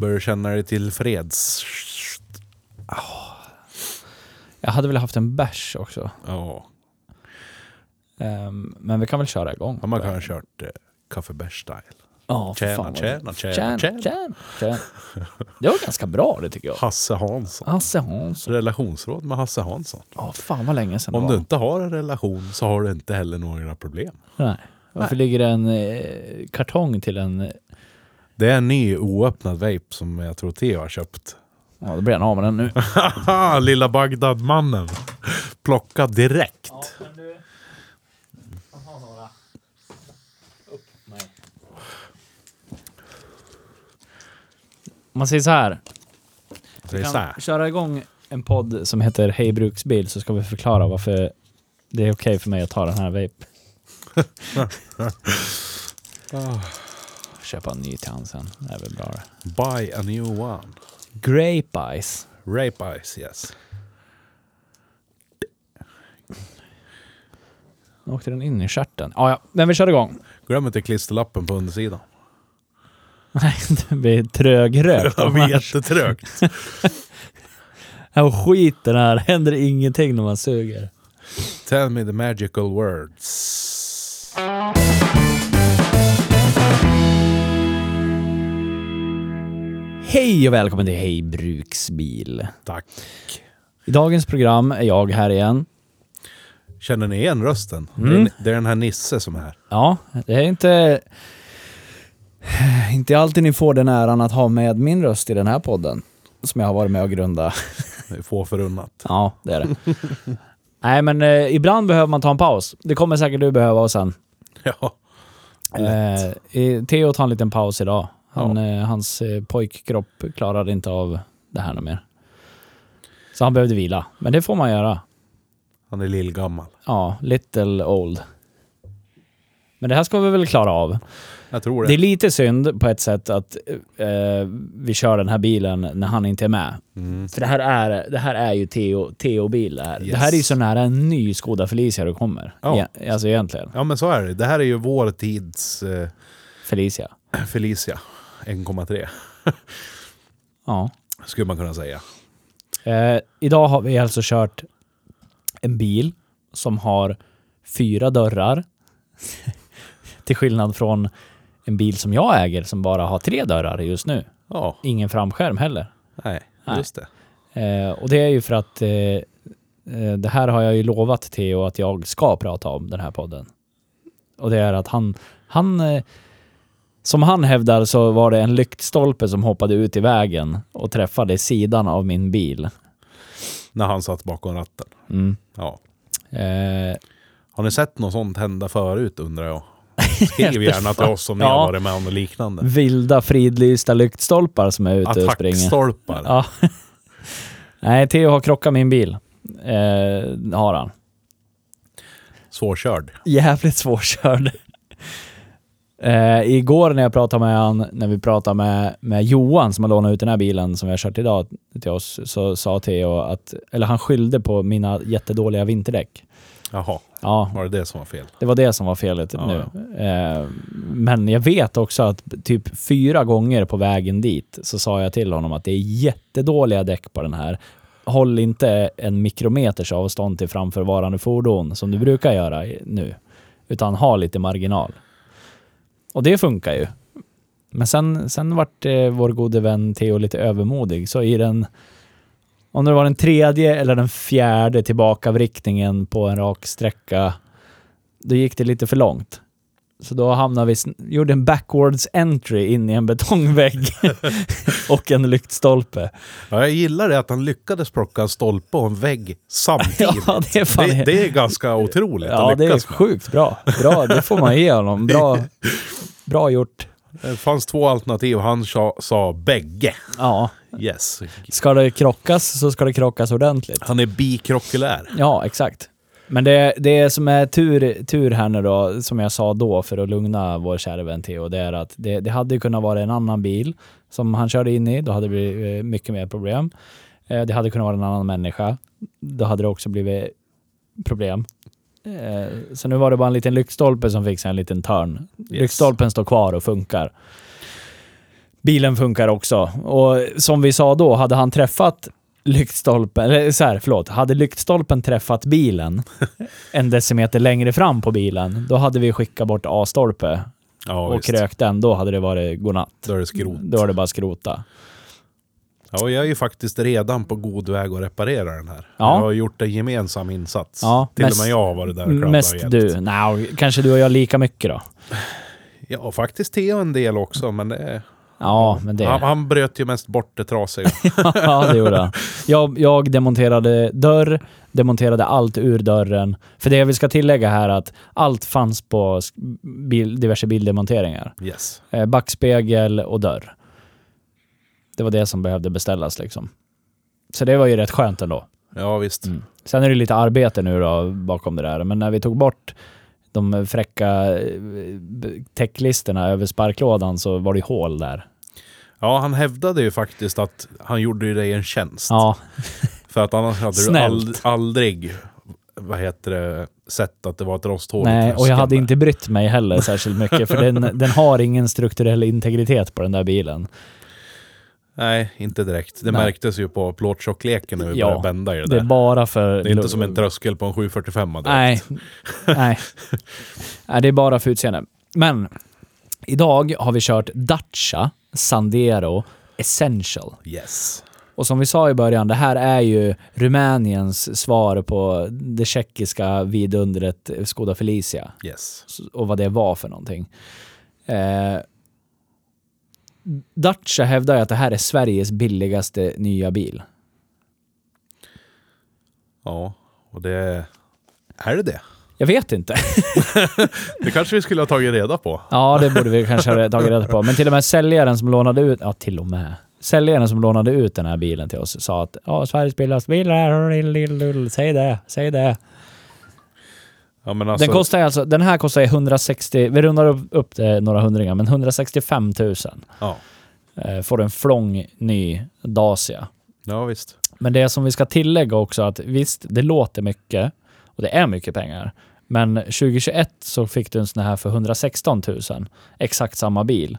Börjar känna dig till freds. Jag hade väl haft en bärs också. Ja, Ehm, men vi kan väl köra igång. man kan ha kört eh, kaffebärs-style. Ja, för Tjäna, fan vad- tjäna, tjäna, tjäna, tjäna. tjäna, tjäna. Det var ganska bra det tycker jag. Hasse Hansson. Hasse Hansson. Relationsråd med Hasse Hansson. Ja, fan vad länge sedan Om det du var. inte har en relation så har du inte heller några problem. Nej. Varför ligger det en eh, kartong till en... eh, Det är en ny oöppnad vape som jag tror Theo har köpt. Ja, då blir han av med den nu. Haha, lilla Bagdadmannen. Plocka direkt. men du... Jag har några. Upp mig. Man säger så här. Det är så kan här. köra igång en podd som heter Hej Bruksbil så ska vi förklara varför det är okej för mig att ta den här vape. Ah, Köpa en ny till han sen. Det är väl bra det. Buy a new one. Grape Ice. Rape eyes, yes. Nu åkte den in i stjärten. Ah, ja, men vi kör igång. Glöm inte klisterlappen på undersidan. Nej, det blir trögrökt. Det blir jättetrögt. Och skiten här, händer ingenting när man suger. Tell me the magical words. Hej och välkommen till Hej Bruksbil. Tack. I dagens program är jag här igen. Känner ni igen rösten? Det, Mm. är, det är den här Nisse som är här. Ja, det är inte... Inte alltid ni får den äran att ha med min röst i den här podden. Som jag har varit med och grundat. Det är Få förunnat. Ja, det är det. Nej, men eh, ibland behöver man ta en paus. Det kommer säkert du behöva och sen. Ja. Eh, eh, Theo tar en liten paus idag. Han, eh, hans eh, pojkkropp klarade inte av det här något mer. Så han behövde vila. Men det får man göra. Han är lillgammal. Ja, little old. Men det här ska vi väl klara av. Jag tror Det är det. lite synd på ett sätt att eh, vi kör den här bilen när han inte är med. Mm. För det här är, det här är ju Theo- Theo-bil det här. Det här är ju Yes. så nära en ny Skoda Felicia du kommer. Ja. E- alltså egentligen. Ja men så är det. Det här är ju vår tids eh, Felicia. Felicia 1,3. Ja. Skulle man kunna säga. Eh, idag har vi alltså kört en bil som har fyra dörrar. Till skillnad från en bil som jag äger som bara har tre dörrar just nu. Ja. Ingen framskärm heller. Nej, Nej. just det. Eh, och det är ju för att eh, eh, det här har jag ju lovat Theo att jag ska prata om den här podden. Och det är att han, han eh, som han hävdar så var det en lyktstolpe som hoppade ut i vägen och träffade sidan av min bil. När han satt bakom ratten. Mm. Ja. Eh, Har ni sett något sånt hända förut undrar jag? Skriv gärna till oss om ni Ja. har varit med om något liknande. vilda fridlysta lyktstolpar som är ute och springer. Attackstolpar. Ja. Nej, Theo har krockat min bil. Eh, har han. Svårkörd. jävligt svårkörd. Eh, igår när jag pratade med han, när vi pratade med, med Johan som har lånat ut den här bilen som vi har kört idag till oss, så sa Theo att, eller han skyllde på mina jättedåliga vinterdäck. Jaha, Ja, var det det som var fel? det var det som var felet Ja, nu. Eh, men jag vet också att typ fyra gånger på vägen dit så sa jag till honom att det är jättedåliga däck på den här. Håll inte en mikrometers avstånd till framförvarande fordon som du brukar göra i- nu, utan ha lite marginal. Och det funkar ju. Men sen, sen vart eh, vår gode vän Theo lite övermodig, så i den om det var den tredje eller den fjärde tillbakavriktningen på en rak sträcka då gick det lite för långt. Så då hamnade vi, sn- gjorde en backwards entry in i en betongvägg och en lyktstolpe. Ja, jag gillar det att han lyckades plocka en stolpe och en vägg samtidigt. Ja, det är fan- det, det är ganska otroligt Ja, att det är lyckas med. sjukt bra. Bra, det får man ge honom. Bra, bra gjort. Det fanns två alternativ. Han sa, sa bägge. Ja. Yes. Ska det krockas så ska det krockas ordentligt. Han är bikrockulär. Ja, exakt. Men det, det som är tur, tur här nu då, som jag sa då för att lugna vår kära vän Theo, det är att det, det hade ju kunnat vara en annan bil som han körde in i. Då hade det blivit eh, mycket mer problem. Eh, Det hade kunnat vara en annan människa. Då hade det också blivit problem. Eh, Så nu var det bara en liten lyktstolpe som fick sig en liten törn. Lyktstolpen står kvar och funkar. Bilen funkar också. Och som vi sa då, hade han träffat lyktstolpen, eller så här, förlåt, hade lyktstolpen träffat bilen en decimeter längre fram på bilen, då hade vi skickat bort A-stolpe Ja, och visst. krökt den. Då hade det varit godnatt. Då är det skrot. Då var det bara skrota. Ja, jag är ju faktiskt redan på god väg att reparera den här. Ja. Jag har gjort en gemensam insats. Ja, Till mest- och med jag har varit där och kladdat och Mm, Mest hjälpt. du. Nej, kanske du och jag lika mycket då. Ja, faktiskt Theo en del också, men det, Ja, men det... Han, han bröt ju mest bort det trasiga. ja, det gjorde han. Jag, jag demonterade dörr, demonterade allt ur dörren. För det jag vill ska tillägga här är att allt fanns på sk- bil, diverse bildemonteringar. Yes. Eh, Backspegel och dörr. Det var det som behövde beställas liksom. Så det var ju rätt skönt ändå. Ja, visst. Sen är det lite arbete nu då bakom det där, men när vi tog bort de fräcka eh, b- täcklisterna över sparklådan så var det ju hål där. Ja, han hävdade ju faktiskt att han gjorde ju dig en tjänst. Ja, För att annars hade du ald- Snällt. aldrig vad heter det, sett att det var ett rosthål i Nej, och jag tröskeln hade där. inte brytt mig heller särskilt mycket för den, den har ingen strukturell integritet på den där bilen. Nej, inte direkt. Det Nej. märktes ju på plåttjockleken när vi Ja, började bända i det Det där. är bara för... det är inte som en tröskel på en 745 direkt. Nej. Nej. Nej, det är bara för utseende. Men idag har vi kört Dacia Sandero Essential. Yes. Och som vi sa i början, det här är ju Rumäniens svar på det tjeckiska vidundret Skoda Felicia. Yes. och vad det var för någonting. Eh, Dacia hävdar ju att det här är Sveriges billigaste nya bil. Ja, och det... Är det det? Jag vet inte. Det kanske vi skulle ha tagit reda på. Ja, det borde vi kanske ha tagit reda på. Men till och med säljaren som lånade ut, ja till och med, säljaren som lånade ut den här bilen till oss sa att ja, Sveriges billigaste bil är, lill, lill, lill. säg det, säg det. Ja, men alltså, Den kostar ju alltså, den här kostar ju 160, vi rundar upp- upp det några hundringar, men 165 000 Ja, eh, får en flång ny Dacia. ja visst. Men det som vi ska tillägga också att visst, det låter mycket och det är mycket pengar. Men 2021 så fick du en sån här för 116 000, exakt samma bil.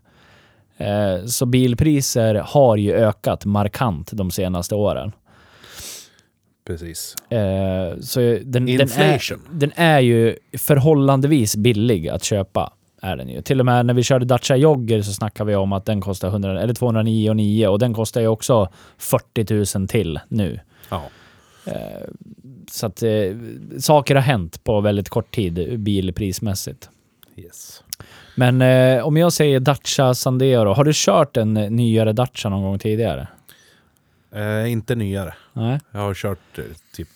Eh, Så bilpriser har ju ökat markant de senaste åren. Precis. Eh, Så den, den, är, Inflation. den är ju förhållandevis billig att köpa. Är den ju. Till och med när vi körde Dacia Jogger så snackade vi om att den kostar 100, eller 209 och och den kostar ju också 40 000 till nu. Ja. Så att eh, saker har hänt på väldigt kort tid bilprismässigt. Yes. Men eh, om jag säger Dacia Sandero, har du kört en eh, nyare Dacia någon gång tidigare? Eh, inte nyare. Nej. Jag har kört eh, typ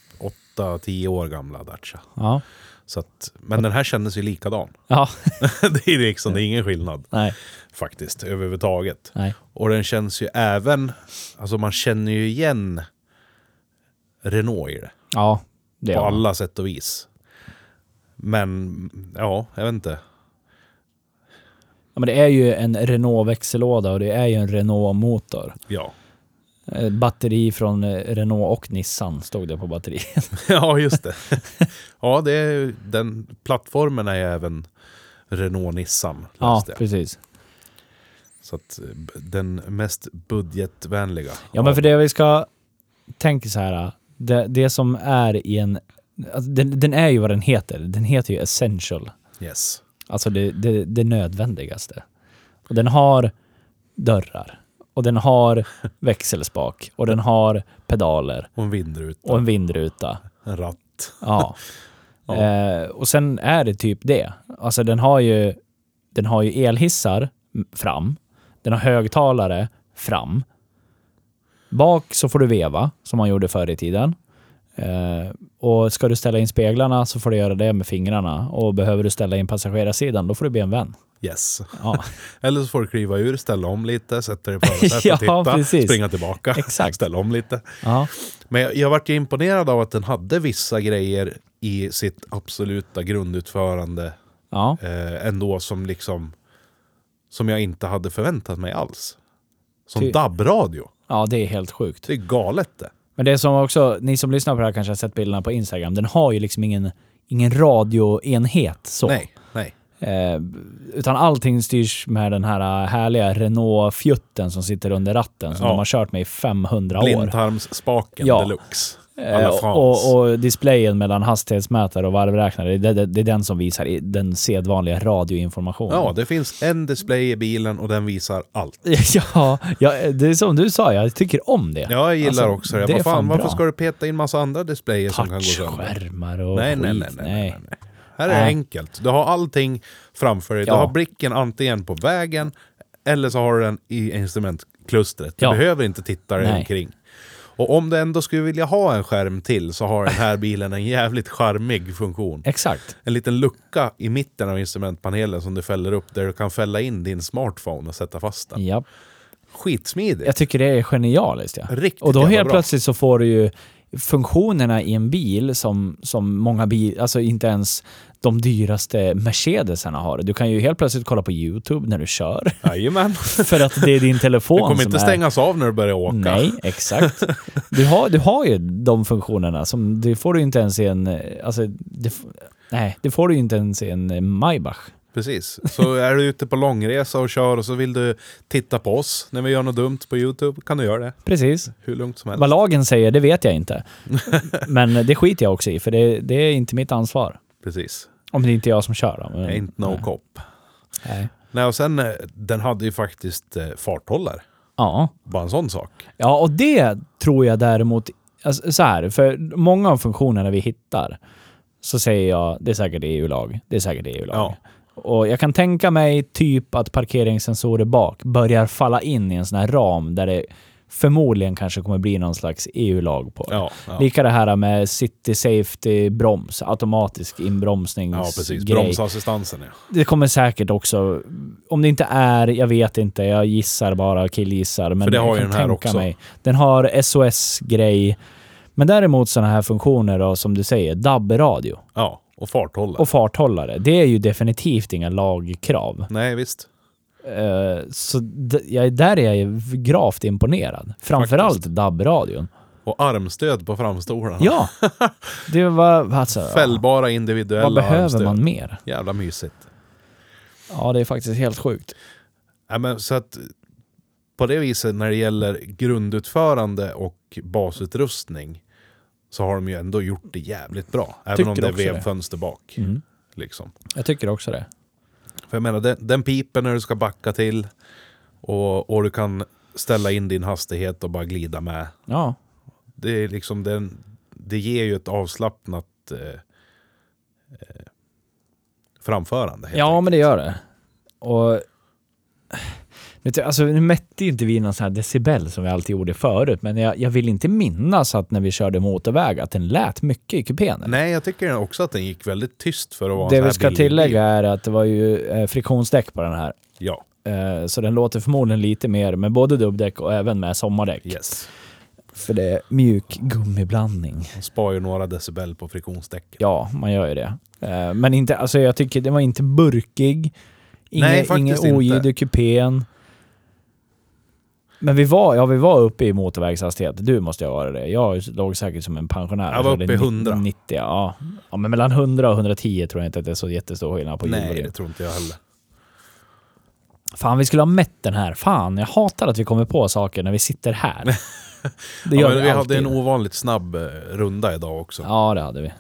8-10 år gamla Dacia. Ja. Så att, men den här kändes ju likadan. Ja. det är liksom det är ingen skillnad Nej. faktiskt överhuvudtaget. Nej. Och den känns ju även, alltså man känner ju igen Renault i det. Ja. Det På gör man. alla sätt och vis. Men ja, jag vet inte. ja, men det är ju en Renault växellåda och det är ju en Renault motor. Ja, Eh, Batteri från eh, Renault och Nissan stod det på batteriet. ja just det. ja, det är, ju- den plattformen är ju även Renault Nissan. ja, läste jag. precis. Så att eh, b- den mest budgetvänliga. Ja, men för det vi ska tänka så här. Det, det som är i en... Alltså, den, den är ju vad den heter. Den heter ju Essential. Yes. Alltså det, det, det nödvändigaste. Och den har dörrar. Och den har växelspak. Och den har pedaler. Och en vindruta. Och en vindruta. En ratt. Ja. Eh, och sen är det typ det. Alltså den har ju Den har ju elhissar m- fram. Den har högtalare fram. Bak så får du veva, som man gjorde förr i tiden. Eh, och ska du ställa in speglarna så får du göra det med fingrarna. Och behöver du ställa in passagerarsidan, då får du be en vän. Yes. Ja, Eller så får du kliva ur, ställa om lite, sätta dig på förarsätet Ja, och titta, precis. springa tillbaka, Exakt. ställa om lite. ja. Men jag, jag vart ju imponerad av att den hade vissa grejer i sitt absoluta grundutförande ja. eh, ändå som liksom som jag inte hade förväntat mig alls. Som Ty- DAB-radio. ja det är helt sjukt. Det är galet det. Men det som också, ni som lyssnar på det här kanske har sett bilderna på Instagram, den har ju liksom ingen, ingen radioenhet så. Nej, nej. Eh, utan allting styrs med den här äh, härliga Renault-fjutten som sitter under ratten som Ja. de har kört med i 500 år. Blindtarmsspaken Ja. deluxe. Eh, Alla och, och displayen mellan hastighetsmätare och varvräknare, det, det, det är den som visar i- den sedvanliga radioinformationen. Ja, det finns en display i bilen och den visar allt. ja, ja, det är som du sa, jag tycker om det. Ja, jag gillar Alltså, också det. det är Vad fan, fan varför bra. ska du peta in massa andra displayer som kan gå sönder? Touchskärmar och Nej, skit. nej, nej, nej, nej. nej. Här är det Nej. enkelt. Du har allting framför dig. Du Ja. har blicken antingen på vägen eller så har du den i instrumentklustret. Du Ja. behöver inte titta dig Nej. omkring. Och om du ändå skulle vilja ha en skärm till så har den här bilen en jävligt charmig funktion. Exakt. En liten lucka i mitten av instrumentpanelen som du fäller upp där du kan fälla in din smartphone och sätta fast den. Japp. Skitsmidigt. Jag tycker det är genialiskt. Ja. Riktigt och då jävla helt bra. plötsligt så får du ju funktionerna i en bil som, som många bilar, alltså inte ens de dyraste Mercedesarna har. Du kan ju helt plötsligt kolla på YouTube när du kör. Jajamän. För att det är din telefon Du kommer som inte är... stängas av när du börjar åka. Nej, exakt. Du har, du har ju de funktionerna som det får du inte ens i en... eh, Alltså, det, f- nej, det får du ju inte ens i en eh, Maybach. Precis. Så är du ute på långresa och kör och så vill du titta på oss när vi gör något dumt på YouTube kan du göra det. Precis. Hur lugnt som helst. Vad lagen säger, det vet jag inte. Men det skiter jag också i, för det, det är inte mitt ansvar. Precis. Om det inte är jag som kör då. Men, Ain't no cop. nej. Nej, och sen eh, den hade ju faktiskt eh, farthållare. Ja. Bara en sån sak. ja, och det tror jag däremot... Alltså, så här, för många av funktionerna vi hittar så säger jag det är säkert EU-lag. Det är säkert EU-lag. Ja. Och jag kan tänka mig typ att parkeringssensorer bak börjar falla in i en sån här ram där det förmodligen kanske kommer bli någon slags EU-lag på. Ja, ja. Lika det här med city safety-broms, automatisk inbromsningsgrej. ja precis. Bromsassistansen ja. Det kommer säkert också, om det inte är, jag vet inte, jag gissar bara, killgissar. Men För det har jag ju kan den här tänka också. Mig. Den har SOS-grej. Men däremot sådana här funktioner då, som du säger, DAB-radio Ja, och farthållare. och farthållare. Det är ju definitivt inga lagkrav. Nej, visst. Eh, Så d- jag, där är jag ju gravt imponerad. Framförallt DAB-radion. Och armstöd på framstolarna. Ja! Det var, alltså, Fällbara individuella vad behöver armstöd. man mer? Jävla mysigt. Ja, det är faktiskt helt sjukt. Ja, men, så att på det viset när det gäller grundutförande och basutrustning så har de ju ändå gjort det jävligt bra. Även Tycker om det är också det. Mm. vevfönster bak. Liksom. Jag tycker också det. För jag menar, den, den piper när du ska backa till och, och du kan ställa in din hastighet och bara glida med. Ja. Det, är liksom den, det ger ju ett avslappnat eh, eh, framförande. helt Ja, enkelt. men det gör det. Och... Vet du, alltså, nu mätte ju inte vi någon sån här decibel som vi alltid gjorde förut, men jag, jag vill inte minnas att när vi körde motorväg att den lät mycket i kupén. Nej, jag tycker också att den gick väldigt tyst för att vara en Det sån här vi ska bilbil. tillägga är att det var ju eh, friktionsdäck på den här. Ja, Eh, Så den låter förmodligen lite mer med både dubbdäck och även med sommardäck. yes. För det är mjuk gummiblandning. De spar ju några decibel på friktionsdäcken. Ja, man gör ju det. Eh, Men inte, alltså jag tycker den var inte burkig. Inge, Nej, faktiskt inget oljud inte. i kupén. Men vi var, ja, vi var uppe i motorvägshastighet. Du måste ju ha varit det. Jag låg säkert som en pensionär. Jag var körde uppe i 100. 90, ja. ja, men mellan 100 och 110 tror jag inte att det är så jättestor skillnad på ljud och Nej, det det. tror inte jag heller. Fan, vi skulle ha mätt den här. Fan, jag hatar att vi kommer på saker när vi sitter här. Det Ja, gör men vi, vi hade alltid. en ovanligt snabb eh, runda idag också. Ja, det hade vi.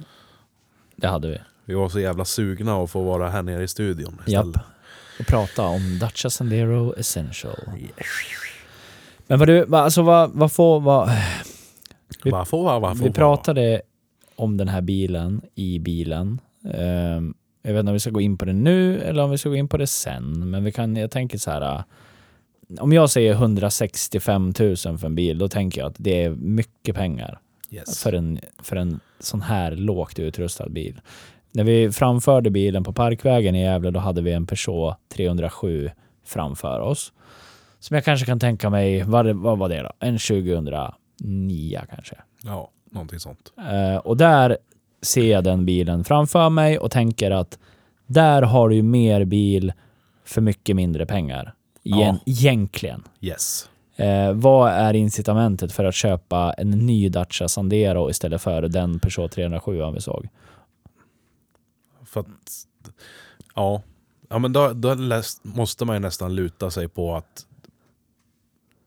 Det hade vi. Vi var så jävla sugna att få vara här nere i studion istället. Japp. Och prata om Dacia Sandero Essential. Men vad du, vad- alltså vad, vad får, vad, Vi- Varför, varför, vi pratade om den här bilen i bilen. Ehm, Jag vet inte om vi ska gå in på det nu eller om vi ska gå in på det sen, men vi kan, jag tänker så här. äh, Om jag säger 165 000 för en bil, då tänker jag att det är mycket pengar Yes. Alltså. för en, för en sån här lågt utrustad bil. När vi framförde bilen på Parkvägen i Gävle, då hade vi en Peugeot 307 framför oss. Som jag kanske kan tänka mig, vad, vad var det då? En 2009 kanske. Ja, någonting sånt. Eh, och där ser jag den bilen framför mig och tänker att där har du ju mer bil för mycket mindre pengar. Igen, Egentligen. Yes. Eh, vad är incitamentet för att köpa en ny Dacia Sandero istället för den Peugeot 307 vi såg? För att, ja. Ja men då, då läs- måste man ju nästan luta sig på att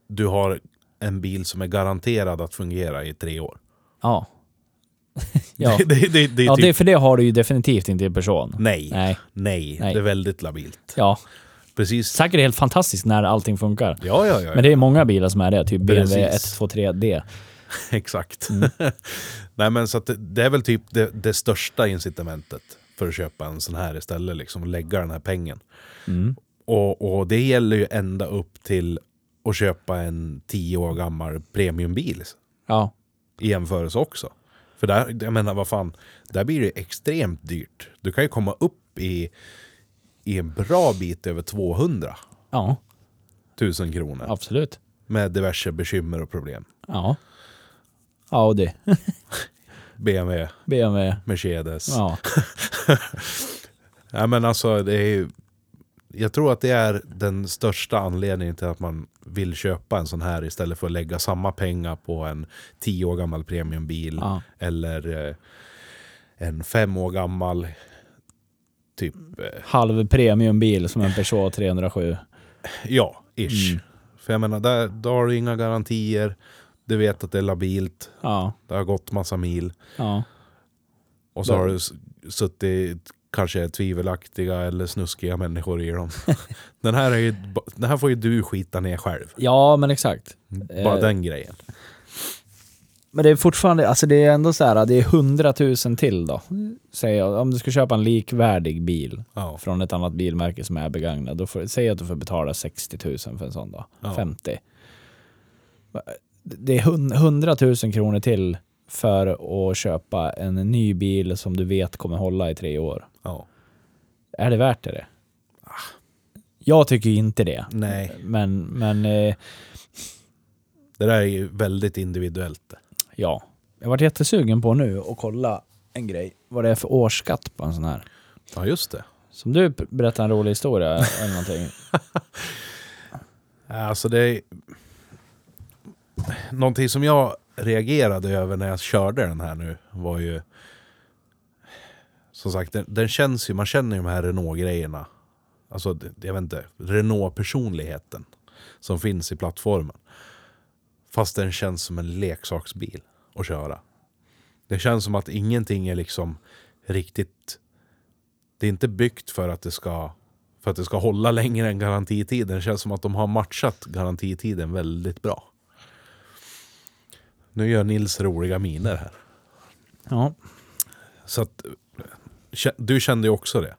du har en bil som är garanterad att fungera i tre år. Ja. ja. det, det, det, det är ja, typ, det, för det har du ju definitivt inte i Peugeot. nej, nej, Nej. Nej. Det är väldigt labilt. Ja, Precis. säkert helt fantastiskt när allting funkar. Ja, ja, ja. Men det är många bilar som är det, typ BMW Precis. 123D. Exakt. Mm. Nej, men så att det, det är väl typ det, det största incitamentet för att köpa en sån här istället, liksom och lägga den här pengen. Mm. Och, och det gäller ju ända upp till att köpa en tio år gammal premiumbil Ja. i jämförelse också. För där, jag menar vad fan, där blir det extremt dyrt. Du kan ju komma upp i, i en bra bit över 200 ja, 000 kronor absolut. med diverse bekymmer och problem. Ja. Audi, BMW, BMW. Mercedes. Ja, Nej men alltså det är ju, Jag tror att det är den största anledningen till att man vill köpa en sån här istället för att lägga samma pengar på en 10 år gammal premiumbil Ja. eller eh, en 5 år gammal typ, eh, halv premiumbil som en Peugeot 307. ja, ish. Mm. För jag menar, där, där har du inga garantier, du vet att det är labilt, Ja, det har gått massa mil ja, och så Där- har du s- suttit kanske tvivelaktiga eller snuskiga människor i dem. den, här är ju, ba- den här får ju du skita ner själv. ja men exakt. Bara Eh, den grejen. Men det är fortfarande, alltså det är ändå så här, det är 100 000 till då. Säger jag, om du ska köpa en likvärdig bil Ja. från ett annat bilmärke som är begagnad, då får, säg att du får betala 60 000 för en sån då. Ja. 50. Det är hun- 100 000 kronor till för att köpa en ny bil som du vet kommer hålla i tre år. Ja. Är det värt det? Jag tycker ju inte det. Ah. Nej, Men, men eh, det där är ju väldigt individuellt. ja. Jag varit jättesugen på nu och kolla en grej. Vad det är för årsskatt på en sån här. Ja, just det. Som du p- berättar en rolig historia eller någonting. Alltså det är... Någonting som jag reagerade över när jag körde den här nu var ju... Som sagt, den, den känns ju, man känner ju de här Renault-grejerna. Alltså, det- jag vet inte, Renault-personligheten som finns i plattformen. Fast den känns som en leksaksbil att köra. Det känns som att ingenting är liksom riktigt... Det är inte byggt för att det ska, för att det ska hålla längre än garantitiden. Det känns som att de har matchat garantitiden väldigt bra. Nu gör Nils roliga miner här. Ja. Så att, kä- du kände ju också det.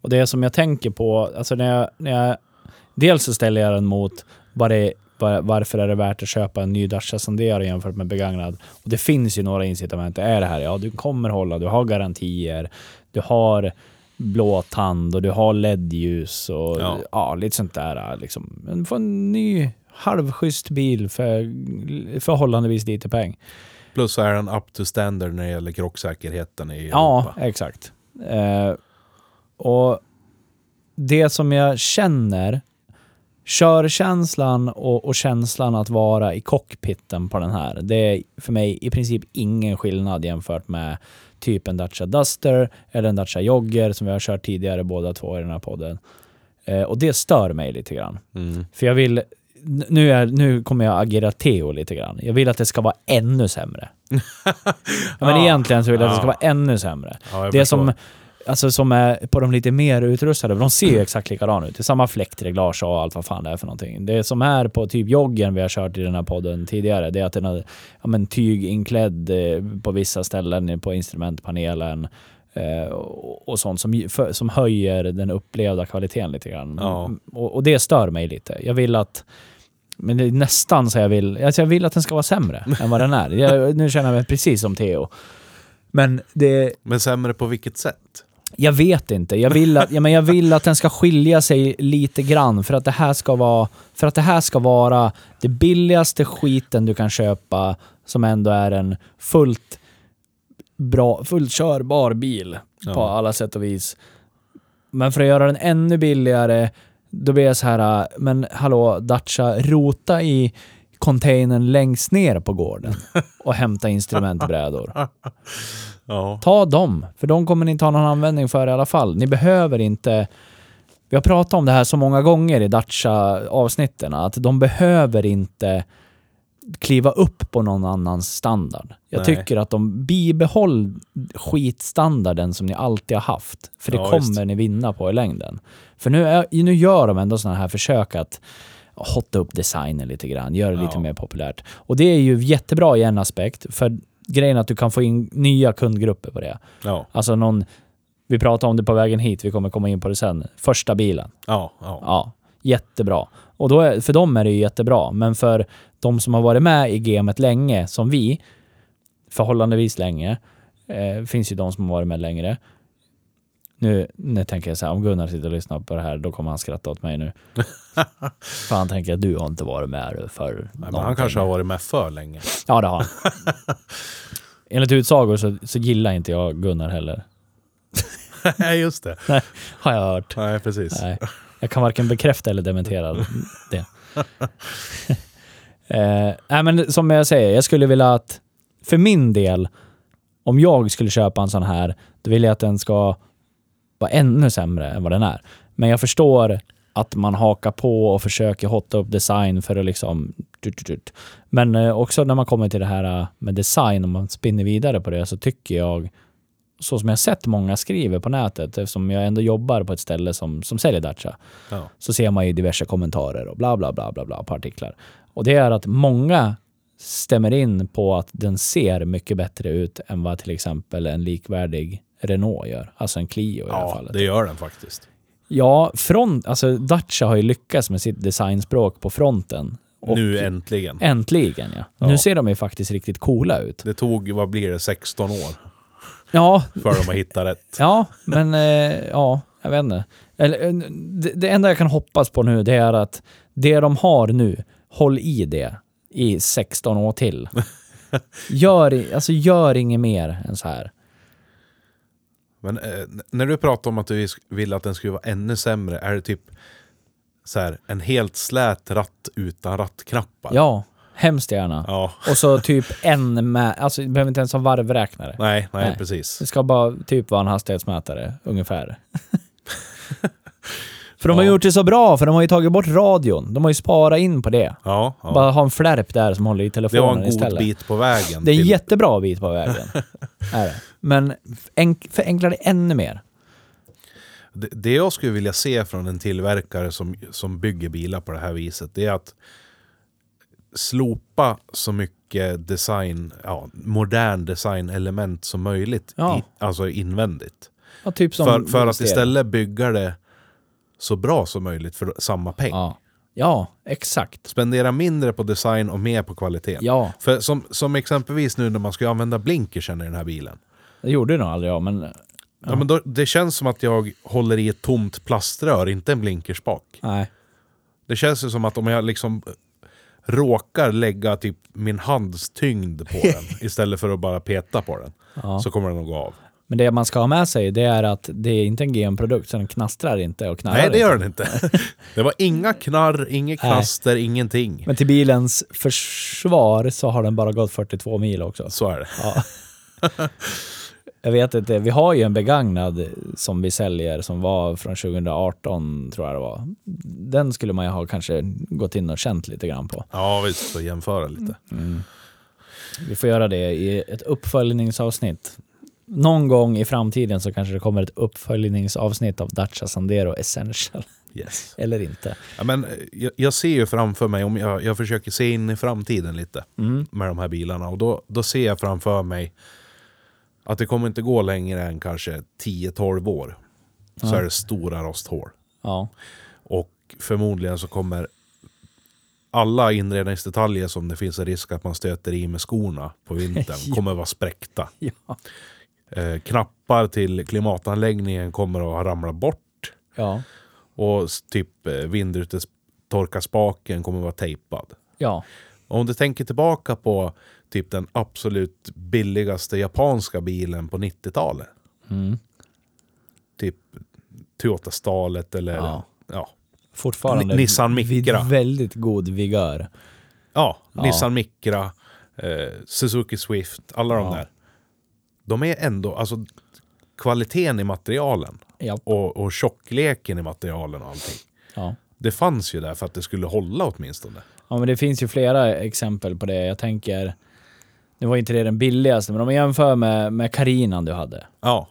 Och det som jag tänker på, alltså när jag, när jag dels så ställer jag den mot vad det, var, varför är det värt att köpa en ny Dacia Sandero jämfört med begagnad? Och det finns ju några incitament. Det är det här, ja du kommer hålla, du har garantier, du har blå tand och du har LED-ljus och Ja. ja. lite sånt där. Liksom. Men få en ny halvschysst bil för förhållandevis lite peng. Plus så är den up to standard när det gäller krocksäkerheten i Ja, Europa. exakt. Eh, och det som jag känner, körkänslan och, och känslan att vara i cockpiten på den här, det är för mig i princip ingen skillnad jämfört med typ en Dacia Duster eller en Dacia Jogger som vi har kört tidigare båda två i den här podden. Eh, och det stör mig lite grann. Mm. För jag vill, n- nu, är, nu kommer jag agera Theo lite grann. Jag vill att det ska vara ännu sämre. ja, men Ja. egentligen så vill jag att det ska Ja. vara ännu sämre. Ja, jag det förstår. som, alltså, som är på de lite mer utrustade, de ser ju exakt likadana ut. Det är samma fläktreglage och allt vad fan det är för någonting. Det som är på typ joggen vi har kört i den här podden tidigare, det är att den har ja, men, tyg inklädd eh, på vissa ställen på instrumentpanelen. eh, och, och sånt som, ju- för, som höjer den upplevda kvaliteten lite grann. Ja. Och, och det stör mig lite. Jag vill att men det är nästan så jag vill, alltså jag vill att den ska vara sämre än vad den är. Jag, nu känner jag mig precis som Theo. Men det, Men sämre på vilket sätt? jag vet inte. Jag vill, att, ja, men jag vill att den ska skilja sig lite grann för att det här ska vara, för att det här ska vara det billigaste skiten du kan köpa som ändå är en fullt bra, fullt körbar bil på Ja. alla sätt och vis. Men för att göra den ännu billigare, då blir jag så här, äh, men hallå Dacia, rota i containern längst ner på gården och hämta instrumentbrädor. Ja. Ta dem, för de kommer ni inte ha någon användning för i alla fall. Ni behöver inte... Vi har pratat om det här så många gånger i Dacia-avsnitten, att de behöver inte kliva upp på någon annans standard. Jag Nej. tycker att de bibehåll skitstandarden som ni alltid har haft, för det Ja, kommer visst. ni vinna på i längden. För nu, är, nu gör de ändå sådana här försök att hotta upp designen lite grann, göra det lite Ja. mer populärt. Och det är ju jättebra i en aspekt, för grejen är att du kan få in nya kundgrupper på det. Ja. Alltså någon, vi pratade om det på vägen hit, vi kommer komma in på det sen. Första bilen, Ja. ja. ja, jättebra. Och då är, för dem är det ju jättebra, men för de som har varit med i gamet länge, som vi, förhållandevis länge, eh, finns ju de som har varit med längre. Nu, nu tänker jag så här, om Gunnar sitter och lyssnar på det här, då kommer han skratta åt mig nu. för han tänker att du har inte varit med för Nej, Men han kanske har varit med för länge. Ja, det har han. Enligt utsagor så, så gillar inte jag Gunnar heller. Nej, just det. Nej, har jag hört. Nej, precis. Nej. Jag kan varken bekräfta eller dementera det. eh, nej, men som jag säger, jag skulle vilja att för min del, om jag skulle köpa en sån här, då vill jag att den ska vara ännu sämre än vad den är. Men jag förstår att man hakar på och försöker hotta upp design för att liksom... tut, tut, tut. Men eh, också när man kommer till det här eh, med design, om man spinner vidare på det, så tycker jag så som jag sett många skriver på nätet, eftersom jag ändå jobbar på ett ställe som, som säljer Dacia, Ja. så ser man ju diverse kommentarer och bla bla bla bla bla på artiklar. Och det är att många stämmer in på att den ser mycket bättre ut än vad till exempel en likvärdig Renault gör, alltså en Clio i det här ja, fallet. det gör den faktiskt. Ja, front, alltså Dacia har ju lyckats med sitt designspråk på fronten. Och nu äntligen. Äntligen ja. Nu Ja. ser de ju faktiskt riktigt coola ut. Det tog, vad blir det, 16 år Ja, för dem att hitta rätt. Ja, men eh, ja, jag vet inte. Eller, eh, det, det enda jag kan hoppas på nu det är att det de har nu, håll i det i 16 år till. Gör, i- alltså, gör inget mer än så här. Men eh, n- när du pratar om att du vis- vill att den skulle vara ännu sämre, är det typ så här, en helt slät ratt utan rattknappar? Ja, hemskt gärna. Ja. Och så typ en med, alltså det behöver inte ens ha varvräknare. Nej, nej, Nej. precis. Det ska bara typ vara en hastighetsmätare, ungefär. för de har Ja. gjort det så bra, för de har ju tagit bort radion. De har ju sparat in på det. Ja, ja. Bara ha en flärp där som håller i Det telefonen var en god istället. bit på vägen. Det är en till- jättebra bit på vägen. är det. Men enk- förenkla det ännu mer. Det- Det jag skulle vilja se från en tillverkare som, som bygger bilar på det här viset, det är att slopa så mycket design, ja, modern designelement som möjligt, Ja. i, alltså invändigt. Ja, typ som för, för att Stero. istället bygga det så bra som möjligt för samma peng. Ja. ja, exakt. Spendera mindre på design och mer på kvalitet. Ja, För som, som exempelvis nu när man ska använda blinkersen i den här bilen. det gjorde nog aldrig jag, men Ja. men då, det känns som att jag håller i ett tomt plaströr, inte en blinkerspak. nej. Det känns ju som att om jag liksom råkar lägga typ min hands tyngd på den istället för att bara peta på den Ja. så kommer den att gå av. Men det man ska ha med sig, det är att det är inte en GM-produkt, så den knastrar inte och knarrar Nej, det inte. gör den inte. Det var inga knarr, inget Nej. knaster, ingenting. Men till bilens försvar så har den bara gått 42 mil också. Så är det. Ja. Jag vet inte, vi har ju en begagnad som vi säljer som var från 2018 tror jag det var. Den skulle man ju ha kanske gått in och känt lite grann på. Ja, visst. Så jämföra lite. Vi får göra det i ett uppföljningsavsnitt. Någon gång i framtiden så kanske det kommer ett uppföljningsavsnitt av Dacia Sandero Essential. Yes. Eller inte. Ja, men, eh, jag, jag ser ju framför mig, om jag, jag försöker se in Mm. i framtiden lite med de här bilarna och då, då ser jag framför mig Att det kommer inte gå längre än kanske 10-12 år. Så Ja. är det stora rosthål. Ja. Och förmodligen så kommer alla inredningsdetaljer som det finns en risk att man stöter i med skorna på vintern kommer vara spräckta. Ja. Eh, knappar till klimatanläggningen kommer att ramla bort. Ja. Och s- typ eh, vindrutetorkarspaken kommer att vara tejpad. Ja. Och Om du tänker tillbaka på typ den absolut billigaste japanska bilen på 90-talet. Mm. Typ Toyota Stalet eller Ja. ja. Fortfarande Ni- Nissan vid Micra. väldigt god vigör. Ja, Ja. Nissan Micra, eh, Suzuki Swift, alla de Ja. där. De är ändå, alltså kvaliteten i materialen Ja. och, och tjockleken i materialen och allting. Ja. Det fanns ju där för att det skulle hålla åtminstone. Ja, men det finns ju flera exempel på det. Jag tänker, nu var inte det den billigaste, men om man jämför med, med Carinan du hade. Ja,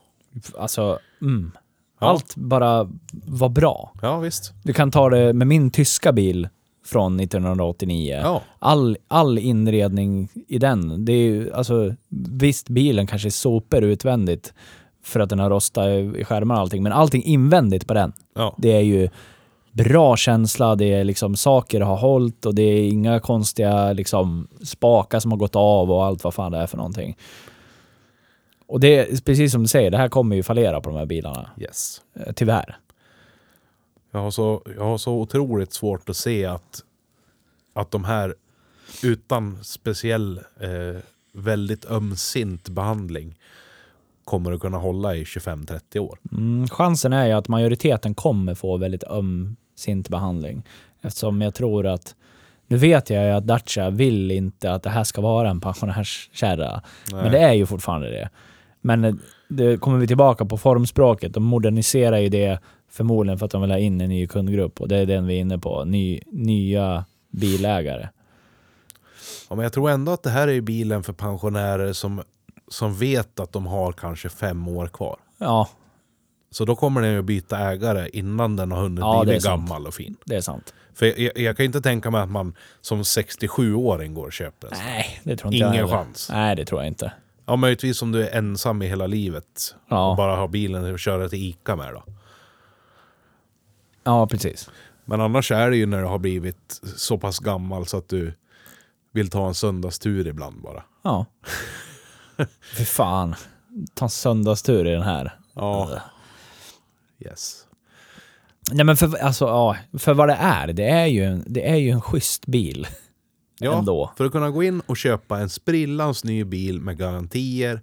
Alltså, mm. Ja. Allt bara var bra. ja visst. Du kan ta det med min tyska bil från 1989. Ja. All, all inredning i den. Det är ju, alltså, visst, bilen kanske är super utvändigt för att den har rostat i i skärmar och allting, men allting invändigt på den. Ja. Det är ju bra känsla, det är liksom saker har hållit och det är inga konstiga liksom spakar som har gått av och allt vad fan det är för någonting. Och det är precis som du säger, det här kommer ju fallera på de här bilarna. Yes. Eh, Tyvärr. Jag har, så, jag har så otroligt svårt att se att, att de här utan speciell eh, väldigt ömsint behandling kommer att kunna hålla i 25-30 år. Mm, chansen är ju att majoriteten kommer få väldigt ömsint behandling. Eftersom jag tror att, nu vet jag ju att Dacia vill inte att det här ska vara en pensionärskärra. Men det är ju fortfarande det. Men eh, det kommer vi tillbaka på formspråket. De moderniserar ju det förmodligen för att de vill ha in en ny kundgrupp och det är den vi är inne på. Ny, nya bilägare. Ja, men jag tror ändå att det här är ju bilen för pensionärer som, som vet att de har kanske fem år kvar. Ja, Så då kommer den ju att byta ägare innan den har hunnit Ja, bli det är sant. gammal och fin. det är sant. För jag, jag, jag kan inte tänka mig att man som 67-åring går och köper en sån. Nej, det tror inte jag Ingen heller. chans. Nej, det tror jag inte. Ja, möjligtvis om du är ensam i hela livet Ja. och bara har bilen och köra till Ica med då. Ja, precis. Men annars är det ju när du har blivit så pass gammal så att du vill ta en söndagstur ibland bara. Ja. Fy fan. Ta en söndagstur i den här. Äh. Ja. Yes. Nej men för, alltså, ja, för vad det är, det är ju en, det är ju en schysst bil. Ja, Ändå. för att kunna gå in och köpa en sprillans ny bil med garantier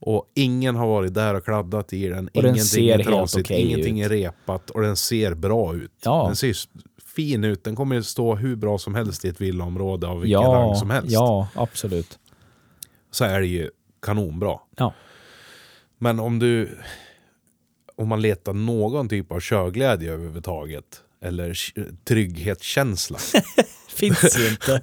och ingen har varit där och kladdat i den. den ingenting ser är helt trasigt, okej ingenting är repat och den ser bra ut. Ja. Den ser ju s- fin ut. Den kommer ju stå hur bra som helst i ett villaområde av vilken ja, rang som helst. ja, absolut. Så är det ju kanonbra. Ja. Men om du... Om man letar någon typ av körglädje överhuvudtaget eller k- trygghetskänsla Finns ju inte.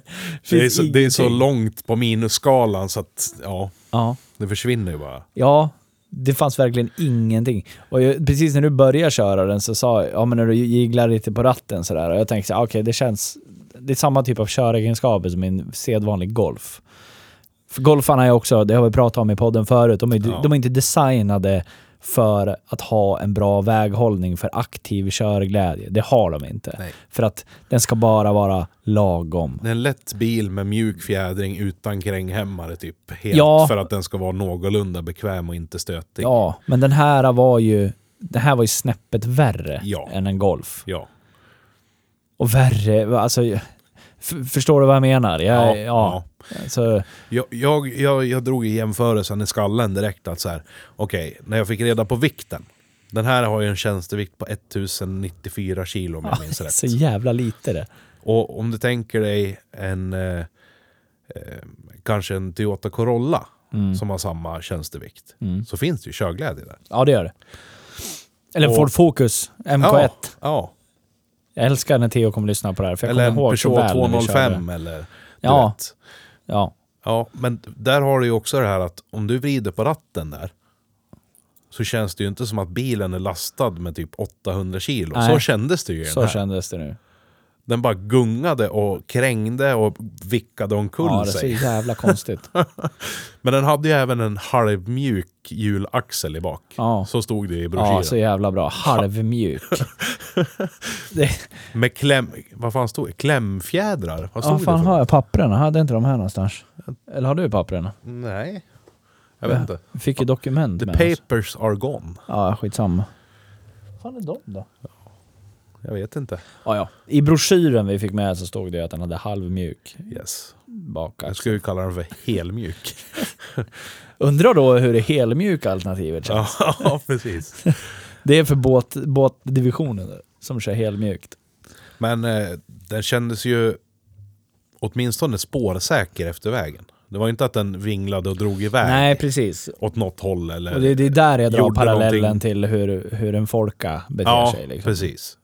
Det är, så, det är så ingenting. långt på minusskalan så att ja, Ja. det försvinner ju bara. Ja, det fanns verkligen ingenting. Och jag, precis när du började köra den så sa jag, ja men när du jigglar lite på ratten sådär, och jag tänkte så här, okej det känns, det är samma typ av köregenskaper som en sedvanlig Golf. För golfarna är också, det har vi pratat om i podden förut, de är, Ja. de är inte designade för att ha en bra väghållning för aktiv körglädje. Det har de inte. Nej. För att den ska bara vara lagom. Det är en lätt bil med mjuk fjädring utan kränghämmare typ. Helt Ja. för att den ska vara någorlunda bekväm och inte stötig. Ja, men den här var ju, den här var ju snäppet värre Ja. än en Golf. Ja. Och värre, alltså... f- Förstår du vad jag menar? Jag, ja. Ja, ja. Alltså, Jag, jag, jag, jag drog i jämförelsen i skallen direkt att så här, okej, när jag fick reda på vikten. Den här har ju en tjänstevikt på 1094 kilo om jag minns rätt. så jävla lite det. Och om du tänker dig en eh, eh, kanske en Toyota Corolla Mm. som har samma tjänstevikt så finns det ju körglädje där. Ja, det gör det. Eller Och- Ford Focus MK1. Ja, Jag älskar när Theo kommer lyssna på det här, för ja. jag eller en kommer ihåg så Peugeot väl när vi körde. 205 eller du Ja. vet. Ja, ja, men där har du ju också det här att om du vrider på ratten där så känns det ju inte som att bilen är lastad med typ 800 kilo. Nej. Så kändes det ju i den så här. kändes det nu. Den bara gungade och krängde och vickade omkull Ja, det är så sig. jävla konstigt. Men den hade ju även en halvmjuk hjulaxel i bak. Ja. Så stod det i broschyren. Ja, så jävla bra. Halvmjuk. Det, Med kläm... Vad fan stod det? Klämfjädrar? Vad stod vad fan det för? har jag papperna? Hade inte de här någonstans? Eller har du papperna? Nej. Jag vet inte. Jag Fick ju dokument The med oss. papers are gone. Ja, skitsamma. Vad fan är de då? Jag vet inte. Ja, ja. I broschyren vi fick med så stod det ju att den hade halvmjuk Yes. Jag bakaxel. skulle ju kalla den för helmjuk. Undrar då hur det helmjuka alternativet känns. ja, precis. Det är för båt, båtdivisionen där, som kör helmjukt. Men eh, den kändes ju åtminstone spårsäker efter vägen. Det var ju inte att den vinglade och drog iväg Nej, precis. åt något håll. Eller... Och det, det är där jag drar Gjorde parallellen någonting. till hur, hur en folka beter ja, sig. Liksom. precis.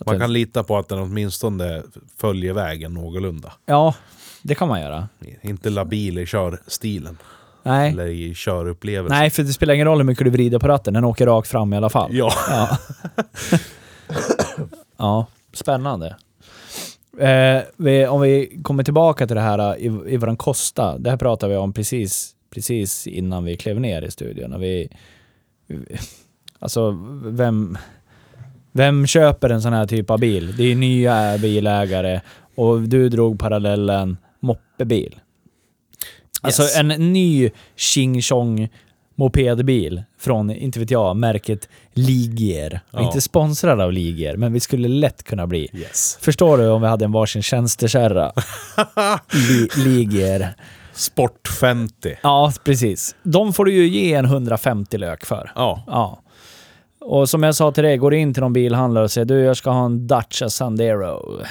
Att Man den- kan lita på att den åtminstone följer vägen någorlunda. Ja, det kan man göra. Inte labil i körstilen Nej. eller i körupplevelsen. Nej, för det spelar ingen roll hur mycket du vrider på ratten, den åker rakt fram i alla fall. Ja, Ja. ja, spännande. Eh, vi, om vi kommer tillbaka till det här eh, i, i våran Kosta. Det här pratade vi om precis, precis innan vi klev ner i studion. Och vi, alltså, vem, vem köper en sån här typ av bil? Det är nya bilägare och du drog parallellen moppebil. Alltså Yes. en ny Ching Chong mopedbil från, inte vet jag, märket Ligier. Vi är Ja. Inte sponsrad av Ligier, men vi skulle lätt kunna bli. yes. Förstår du om vi hade en varsin tjänstekärra? Li- Ligier. Sport 50. Ja, precis. De får du ju ge en 150 lök för. Ja, Ja. Och som jag sa till dig, går du in till någon bilhandlare och säger du, jag ska ha en Dacia Sandero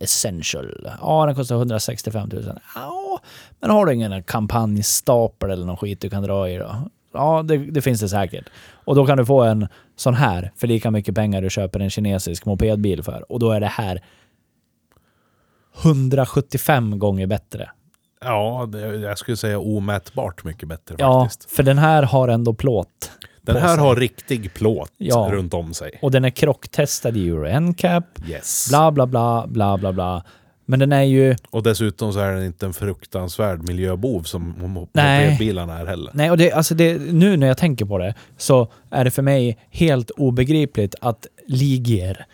Essential. Ja, den kostar 165 000. Ja, men har du ingen kampanjstapel eller någon skit du kan dra i då? Ja, det, det finns det säkert. Och då kan du få en sån här för lika mycket pengar du köper en kinesisk mopedbil för. Och då är det här 175 gånger bättre. ja det, jag skulle säga omätbart mycket bättre Ja, faktiskt. för den här har ändå plåt. Den på här sig. har riktig plåt Ja. runt om sig. Och den är krocktestad i Euro NCAP. Yes. Bla, bla, bla, bla, bla, bla. Men den är ju... Och dessutom så är den inte en fruktansvärd miljöbov som mop- Nej. mopedbilarna är heller. Nej, och det, alltså det, nu när jag tänker på det så är det för mig helt obegripligt att Ligier...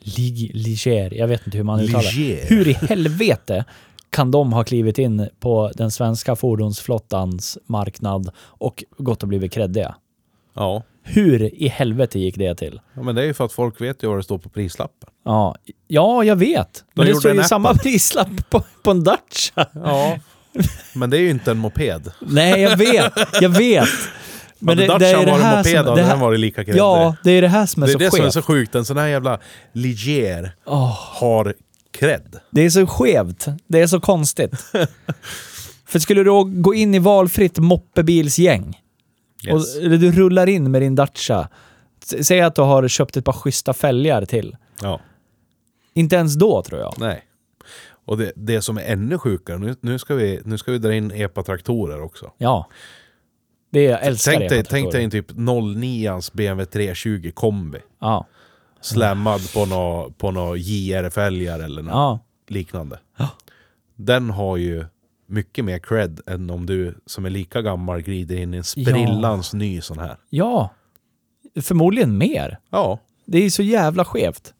Lig, Ligier, jag vet inte hur man uttalar Ligier. det. Hur i helvete kan de ha klivit in på den svenska fordonsflottans marknad och gått och blivit kreddiga? Ja. Hur i helvete gick det till? ja, men det är ju för att folk vet ju vad det står på prislappen. Ja, ja jag vet. Men det gjorde står en ju app samma prislapp på, på en Dacia. Ja. men det är ju inte en moped. Nej, jag vet. Jag vet. Men det, Dacia var en moped och den var det lika kreddig. Ja, det är det här som är det är så det som är skevt. så sjukt. En sån här jävla Ligier Åh, har cred. det är så skevt. Det är så konstigt. För skulle du gå in i valfritt moppebilsgäng, Yes. och, eller du rullar in med din Dacia, S- säg att du har köpt ett par schyssta fälgar till. Ja. Inte ens då tror jag. Nej. Och det, det som är ännu sjukare, nu, nu, ska vi, nu ska vi dra in epatraktorer också. Ja. Det är, jag älskar Tänk dig, epatraktorer. tänk dig en typ 09ans BMW 320 kombi. Ja. Slammad på någon på nå JR-fälgar eller något ja. liknande. Ja. Den har ju mycket mer cred än om du som är lika gammal glider in i en sprillans ny sån här. Ja. Förmodligen mer. Ja, Det är så jävla skevt.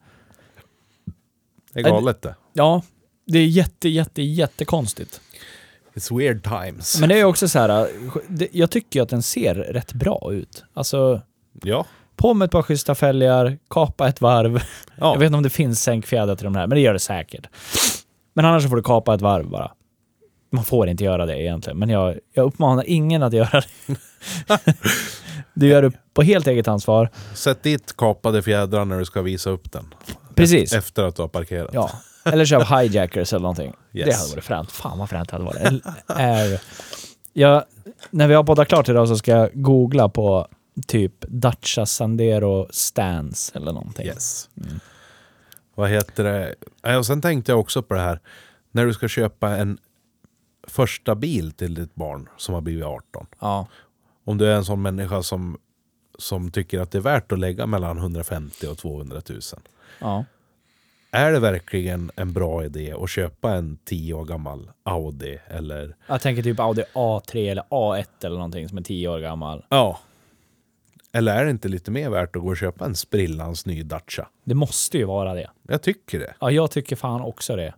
det är galet det. Ja, det är jätte, jätte, jättekonstigt. It's weird times. Men det är också så här, äh, det- jag tycker ju att den ser rätt bra ut. Alltså, Ja, på med ett par schyssta fälgar, kapa ett varv. Ja. Jag vet inte om det finns sänkfjädrar till de här, men det gör det säkert. Men annars så får du kapa ett varv bara. Man får inte göra det egentligen, men jag, jag uppmanar ingen att göra det. du gör det på helt eget ansvar. sätt dit kapade fjädrar när du ska visa upp den. Precis. Efter att du har parkerat. Ja. Eller köp hijackers eller någonting. Yes. Det hade varit fränt. Fan vad fränt det hade varit. Eller- är- jag, när vi har poddat klart idag så ska jag googla på typ Dacia Sandero Stance eller någonting. Yes. Mm. Vad heter det? Ja, Och sen tänkte jag också på det här. När du ska köpa en första bil till ditt barn som har blivit 18. Ja. Om du är en sån människa som, som tycker att det är värt att lägga mellan 150 och 200 000. ja. Är det verkligen en bra idé att köpa en 10 år gammal Audi eller Jag tänker typ Audi A3 eller A1 eller någonting som är 10 år gammal. Ja. Eller är det inte lite mer värt att gå och köpa en sprillans ny Dacia? Det måste ju vara det. Jag tycker det. Ja, jag tycker fan också det.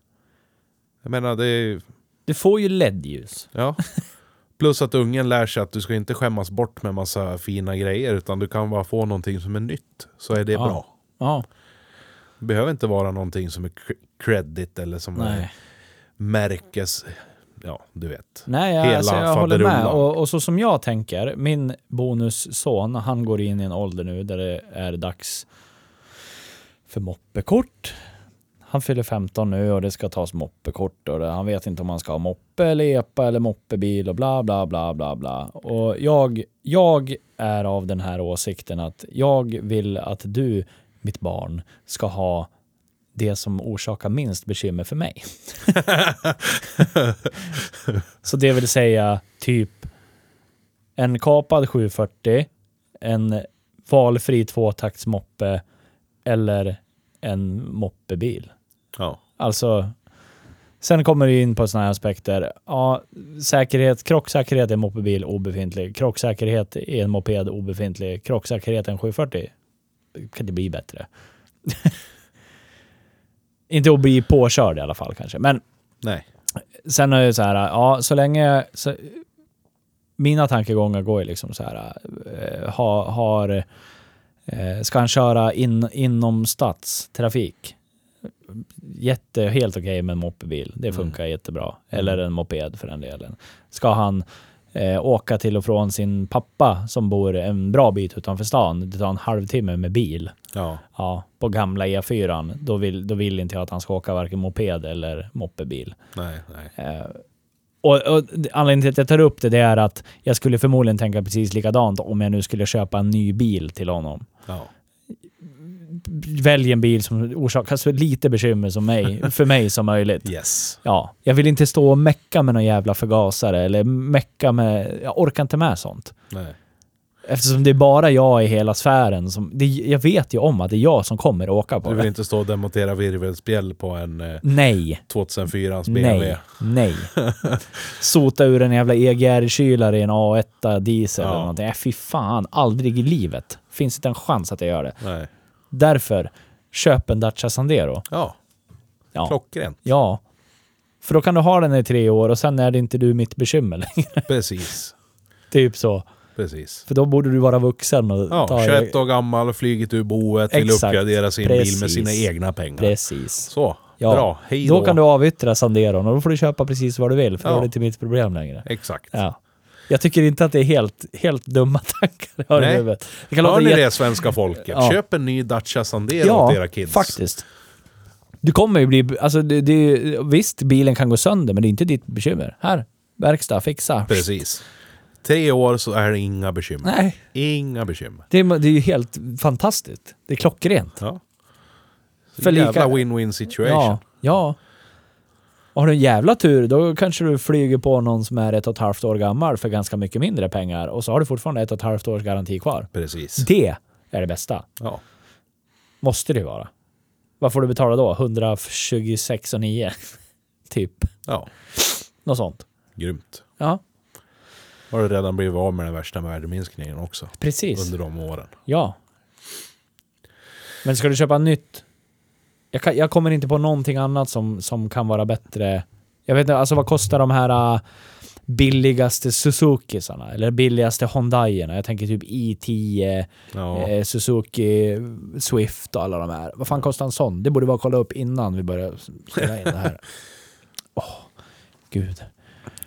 Jag menar, det är... Du får ju LED-ljus. Ja. Plus att ungen lär sig att du ska inte skämmas bort med massa fina grejer utan du kan bara få någonting som är nytt. Så är det Ja. bra. Ja, Det behöver inte vara någonting som är cr- credit eller som är nej. märkes... Ja, du vet. Nej, jag, Hela alltså, jag håller med. faderullan. Och, och så som jag tänker, min bonusson, han går in i en ålder nu där det är dags för moppekort. Han fyller 15 nu och det ska tas moppekort och det, han vet inte om han ska ha moppe eller epa eller moppebil och bla bla bla bla bla. Och jag, jag är av den här åsikten att jag vill att du, mitt barn, ska ha det som orsakar minst bekymmer för mig. Så det vill säga typ en kapad 740, en valfri tvåtaktsmoppe eller en moppebil. Ja. Alltså, sen kommer du in på sådana här aspekter. Ja, säkerhet, krocksäkerhet i en moppebil obefintlig. Krocksäkerhet i en moped obefintlig. Krocksäkerhet i en 740. Kan det bli bättre? Inte att bli påkörd i alla fall kanske, men Nej. sen är det så här, ja, så länge... Så, mina tankegångar går ju liksom så här, eh, ha, har... Eh, ska han köra in, inom stadstrafik? Jätte, helt okej med en moppebil. Det funkar jättebra. Eller en moped för den delen. Ska han eh, åka till och från sin pappa som bor en bra bit utanför stan? Det tar en halvtimme med bil. Ja. Ja, på gamla E4. Då vill, då vill inte jag att han ska åka varken moped eller moppebil. Nej. Nej. Eh, Och, och anledningen till att jag tar upp det, det är att jag skulle förmodligen tänka precis likadant om jag nu skulle köpa en ny bil till honom. Ja. Välj en bil som orsakar så lite bekymmer som mig, för mig som möjligt. Yes. Ja, jag vill inte stå och mecka med någon jävla förgasare eller mecka med... Jag orkar inte med sånt. Nej. Eftersom det är bara jag i hela sfären som... Det, jag vet ju om att det är jag som kommer att åka på Du vill det. inte stå och demontera virvelspjäll på en eh, Nej. 2004 BMW. Nej, nej. Sota ur en jävla EGR-kylare i en A1 diesel Ja. eller någonting. Äh, fy fan, aldrig i livet. Finns inte en chans att jag gör det. Nej. Därför, köp en Dacia Sandero. Ja. Ja. Klockrent. ja. För då kan du ha den i tre år och sen är det inte du mitt bekymmer längre. Precis. typ så. Precis. För då borde du vara vuxen och Ja, ta 21 år gammal, flugit ur boet, vill Exakt. uppgradera sin bil med Precis. sina egna pengar. Precis. Så, Ja. bra. Hej då. då kan du avyttra Sanderon och då får du köpa precis vad du vill för Ja. då är det inte mitt problem längre. Exakt. Ja. Jag tycker inte att det är helt, helt dumma tankar jag har i Nej. huvudet. Det kan Hör låta ni jätte- det svenska folket? Ja. Köp en ny Dacia Sandero åt era kids. faktiskt. Du kommer ju bli... Alltså det, det, visst, bilen kan gå sönder, men det är inte ditt bekymmer. Här, verkstad, fixa. Precis. Tre år så är det inga bekymmer. Nej, Inga bekymmer. det, är- det är ju helt fantastiskt. Det är klockrent. Ja. För För lika- Jävla win-win situation. Ja, ja. Och har du en jävla tur, då kanske du flyger på någon som är ett och ett halvt år gammal för ganska mycket mindre pengar och så har du fortfarande ett och ett halvt års garanti kvar. Precis. Det är det bästa. Ja. Måste det ju vara. Vad får du betala då? 126,9? typ. ja, Något sånt. grymt. Ja, Har du redan blivit av med den värsta värdeminskningen också precis. under de åren. Ja. Men ska du köpa nytt? Jag, kan, jag kommer inte på någonting annat som, som kan vara bättre. Jag vet inte, alltså vad kostar de här äh, billigaste Suzukisarna? Eller billigaste Hyundaierna? Jag tänker typ i10, Ja. eh, Suzuki Swift och alla de här. Vad fan kostar en sån? Det borde vi bara kolla upp innan vi börjar spela in det här. Åh, gud.